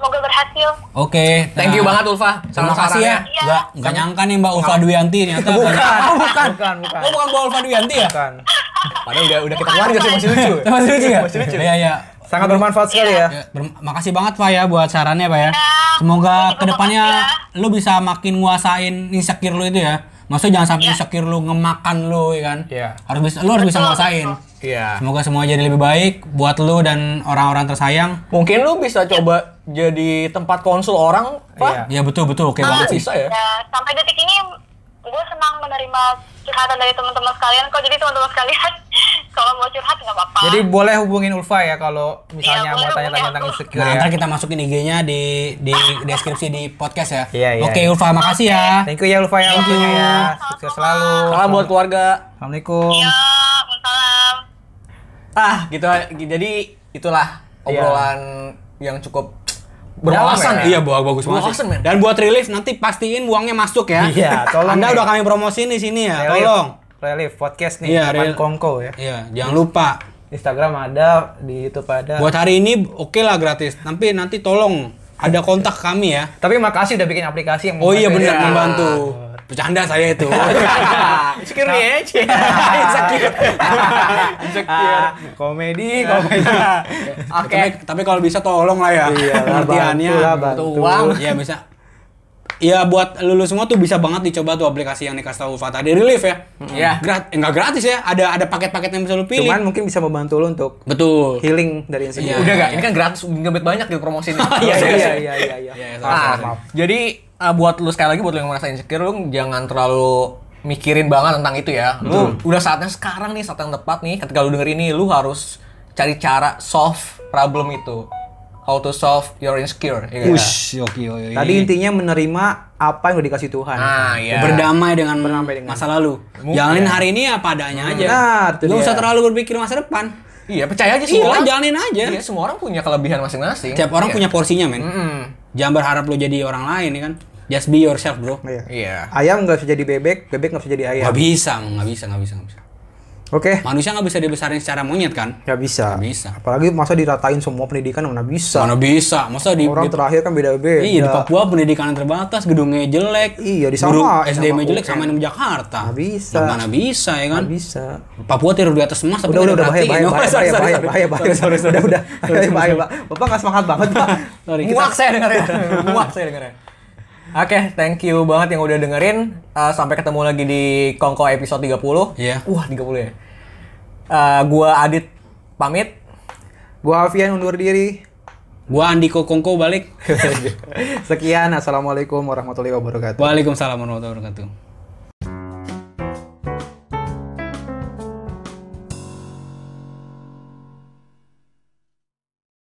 [SPEAKER 4] semoga berhasil
[SPEAKER 3] Oke.
[SPEAKER 2] Thank you
[SPEAKER 3] nah,
[SPEAKER 2] banget Ulfa.
[SPEAKER 3] Terima kasih ya.
[SPEAKER 4] Iya.
[SPEAKER 3] Enggak enggak nyangka nih Mbak Ulfa Duyanti ternyata.
[SPEAKER 1] Bukan, Oh, bukan, bukan, bukan.
[SPEAKER 3] Oh, bukan Mbak Ulfa Duyanti ya?
[SPEAKER 1] Bukan.
[SPEAKER 2] Padahal udah udah kita keluarin sih masih lucu.
[SPEAKER 3] Masih lucu ya?
[SPEAKER 2] Masih lucu.
[SPEAKER 3] Iya, iya.
[SPEAKER 1] Sangat bermanfaat sekali ya.
[SPEAKER 3] Ya, berm- makasih banget Pak ya buat sarannya Pak ya.
[SPEAKER 4] Iya,
[SPEAKER 3] Semoga
[SPEAKER 4] aku juga
[SPEAKER 3] kedepannya
[SPEAKER 4] makasih
[SPEAKER 3] lu bisa makin nguasain insecure lu itu ya. Maksudnya jangan sampai insecure lu ngemakan lu ya kan.
[SPEAKER 1] Iya.
[SPEAKER 3] Harus bisa lu harus bisa
[SPEAKER 4] Betul,
[SPEAKER 3] nguasain.
[SPEAKER 1] Iya.
[SPEAKER 3] Semoga semua jadi lebih baik buat lu dan orang-orang tersayang.
[SPEAKER 2] Mungkin lu bisa coba jadi tempat konsul orang, Pak.
[SPEAKER 3] Ya betul betul oke
[SPEAKER 2] Ah,
[SPEAKER 3] banget sih.
[SPEAKER 2] bisa ya?
[SPEAKER 4] Ya, sampai detik ini gue senang menerima curhatan dari teman-teman sekalian kok jadi teman-teman sekalian kalau mau curhat nggak apa-apa
[SPEAKER 1] Jadi boleh hubungin Ulfa ya kalau misalnya mau
[SPEAKER 4] Iya, boleh
[SPEAKER 1] tanya-tanya
[SPEAKER 4] hubungin
[SPEAKER 1] tentang
[SPEAKER 4] aku.
[SPEAKER 1] insecure
[SPEAKER 3] Nah, ntar
[SPEAKER 1] ya.
[SPEAKER 3] kita masukin IG-nya di di deskripsi di podcast ya.
[SPEAKER 1] Iya, iya,
[SPEAKER 3] Oke,
[SPEAKER 1] iya.
[SPEAKER 3] Ulfa, makasih ya.
[SPEAKER 1] Thank you ya Ulfa
[SPEAKER 4] Iya.
[SPEAKER 1] ya. Thank you. Ya. Sukses selalu.
[SPEAKER 2] Salam buat keluarga.
[SPEAKER 1] Assalamualaikum.
[SPEAKER 4] ya salam
[SPEAKER 2] Ah, gitu. Jadi itulah obrolan yang cukup berwawasan.
[SPEAKER 3] Iya, bagus bagus banget. sih.
[SPEAKER 2] Berwawasan, men.
[SPEAKER 3] Dan buat relief nanti pastiin uangnya masuk ya.
[SPEAKER 1] Iya, tolong,
[SPEAKER 3] Anda
[SPEAKER 1] men.
[SPEAKER 3] udah kami promosiin di sini ya.
[SPEAKER 1] Relief.
[SPEAKER 3] Tolong.
[SPEAKER 1] Relief podcast nih.
[SPEAKER 3] Iya,
[SPEAKER 1] Iya,
[SPEAKER 3] Relief.
[SPEAKER 1] Kongko ya.
[SPEAKER 3] Iya, jangan lupa.
[SPEAKER 1] Instagram ada, di YouTube ada.
[SPEAKER 3] Buat hari ini oke lah gratis. Tapi nanti tolong ada kontak kami ya.
[SPEAKER 1] Tapi makasih udah bikin aplikasi yang
[SPEAKER 3] Oh iya
[SPEAKER 1] membantu
[SPEAKER 3] benar
[SPEAKER 1] ya.
[SPEAKER 3] membantu. Bercanda saya itu.
[SPEAKER 2] Insecure ya, Cie.
[SPEAKER 3] Insecure.
[SPEAKER 1] Ah, komedi,
[SPEAKER 2] Ah.
[SPEAKER 1] komedi.
[SPEAKER 3] Oke. Tapi, tapi kalau bisa tolong lah ya.
[SPEAKER 1] Iya lah,
[SPEAKER 3] Pengertiannya.
[SPEAKER 1] bantu lah, bantu.
[SPEAKER 3] Butuh uang. Iya bisa. Iya buat lulus semua tuh bisa banget dicoba tuh aplikasi yang dikasih tahu Fata di Relief ya.
[SPEAKER 2] Iya.
[SPEAKER 3] Gratis, enggak gratis ya. Ada ada paket-paket yang bisa lu pilih.
[SPEAKER 1] Cuman mungkin bisa membantu lu untuk
[SPEAKER 3] Betul.
[SPEAKER 1] healing dari insecure.
[SPEAKER 3] Iya.
[SPEAKER 2] Udah gak? Ini kan gratis, ngebet banyak di promosi ini.
[SPEAKER 1] Iya, iya, iya, iya, iya.
[SPEAKER 3] Iya, iya,
[SPEAKER 1] Maaf,
[SPEAKER 2] Ah,
[SPEAKER 1] maaf, maaf.
[SPEAKER 2] jadi eh, buat lu sekali lagi buat lu yang merasa insecure lu jangan terlalu mikirin banget tentang itu ya. Lu udah saatnya sekarang nih saat yang tepat nih ketika lu denger ini lu harus cari cara solve problem itu. How to solve your insecure. ya
[SPEAKER 3] Iya.
[SPEAKER 2] kan?
[SPEAKER 3] Ush, oke, oke.
[SPEAKER 1] Tadi intinya menerima apa yang udah dikasih Tuhan.
[SPEAKER 3] Ah,
[SPEAKER 2] Nah, iya.
[SPEAKER 3] Berdamai dengan,
[SPEAKER 1] Berdamai dengan-
[SPEAKER 3] masa lalu.
[SPEAKER 2] Mungkin.
[SPEAKER 3] Jalanin hari ini apa adanya aja.
[SPEAKER 1] Benar, itu
[SPEAKER 3] Gak
[SPEAKER 1] dia.
[SPEAKER 3] usah terlalu berpikir masa depan.
[SPEAKER 2] Iya, percaya aja
[SPEAKER 3] Iya,
[SPEAKER 2] semua orang.
[SPEAKER 3] jalanin aja.
[SPEAKER 2] Iya, semua orang punya kelebihan masing-masing.
[SPEAKER 3] Tiap
[SPEAKER 2] Iya.
[SPEAKER 3] orang
[SPEAKER 2] Hmm.
[SPEAKER 3] punya porsinya, men.
[SPEAKER 2] Mm-mm.
[SPEAKER 3] Jangan berharap lo jadi orang lain, ya kan? Just be yourself, bro.
[SPEAKER 1] Iya.
[SPEAKER 2] Iya.
[SPEAKER 1] Ayam nggak bisa jadi bebek, bebek nggak bisa jadi ayam.
[SPEAKER 3] Gak bisa, Mang. gak bisa, gak bisa, gak bisa.
[SPEAKER 1] Oke.
[SPEAKER 3] Manusia gak bisa dibesarin secara monyet, kan?
[SPEAKER 1] Nggak bisa.
[SPEAKER 3] Nggak bisa.
[SPEAKER 1] Apalagi masa diratain semua pendidikan mana bisa.
[SPEAKER 3] Mana bisa? Masa di,
[SPEAKER 1] Orang
[SPEAKER 3] di-
[SPEAKER 1] terakhir kan beda-beda.
[SPEAKER 3] Iya, di Papua pendidikan terbatas, gedungnya jelek.
[SPEAKER 1] Iya,
[SPEAKER 3] guru
[SPEAKER 1] disamain
[SPEAKER 3] SDM-nya
[SPEAKER 1] sama
[SPEAKER 3] jelek
[SPEAKER 1] UN.
[SPEAKER 3] sama yang di Jakarta.
[SPEAKER 1] Nggak bisa.
[SPEAKER 3] Ya, mana bisa, ya kan?
[SPEAKER 1] Nggak bisa.
[SPEAKER 3] Papua tidur di atas emas, tapi
[SPEAKER 1] Udah, udah,
[SPEAKER 3] nggak
[SPEAKER 1] udah, bahaya, bahaya, bahaya,
[SPEAKER 3] diperhatiin. Oh, sorry,
[SPEAKER 1] bahaya,
[SPEAKER 3] sorry,
[SPEAKER 1] bahaya,
[SPEAKER 3] sorry.
[SPEAKER 1] bahaya, bahaya, sorry, sorry, udah, udah, bahaya, bahaya, Pak. Bapak nggak semangat banget, Pak.
[SPEAKER 3] Sorry, kita-
[SPEAKER 2] Muak saya dengerin. Muak saya dengerin. Oke, thank you banget yang udah dengerin. Uh, sampai ketemu lagi di Kongko episode 30.
[SPEAKER 3] Iya.
[SPEAKER 2] Wah, 30 ya. Uh, gua Adit pamit.
[SPEAKER 1] Gua Alfian undur diri.
[SPEAKER 3] Gua Andiko Kongko balik.
[SPEAKER 1] Sekian, assalamualaikum warahmatullahi wabarakatuh.
[SPEAKER 3] Waalaikumsalam warahmatullahi wabarakatuh.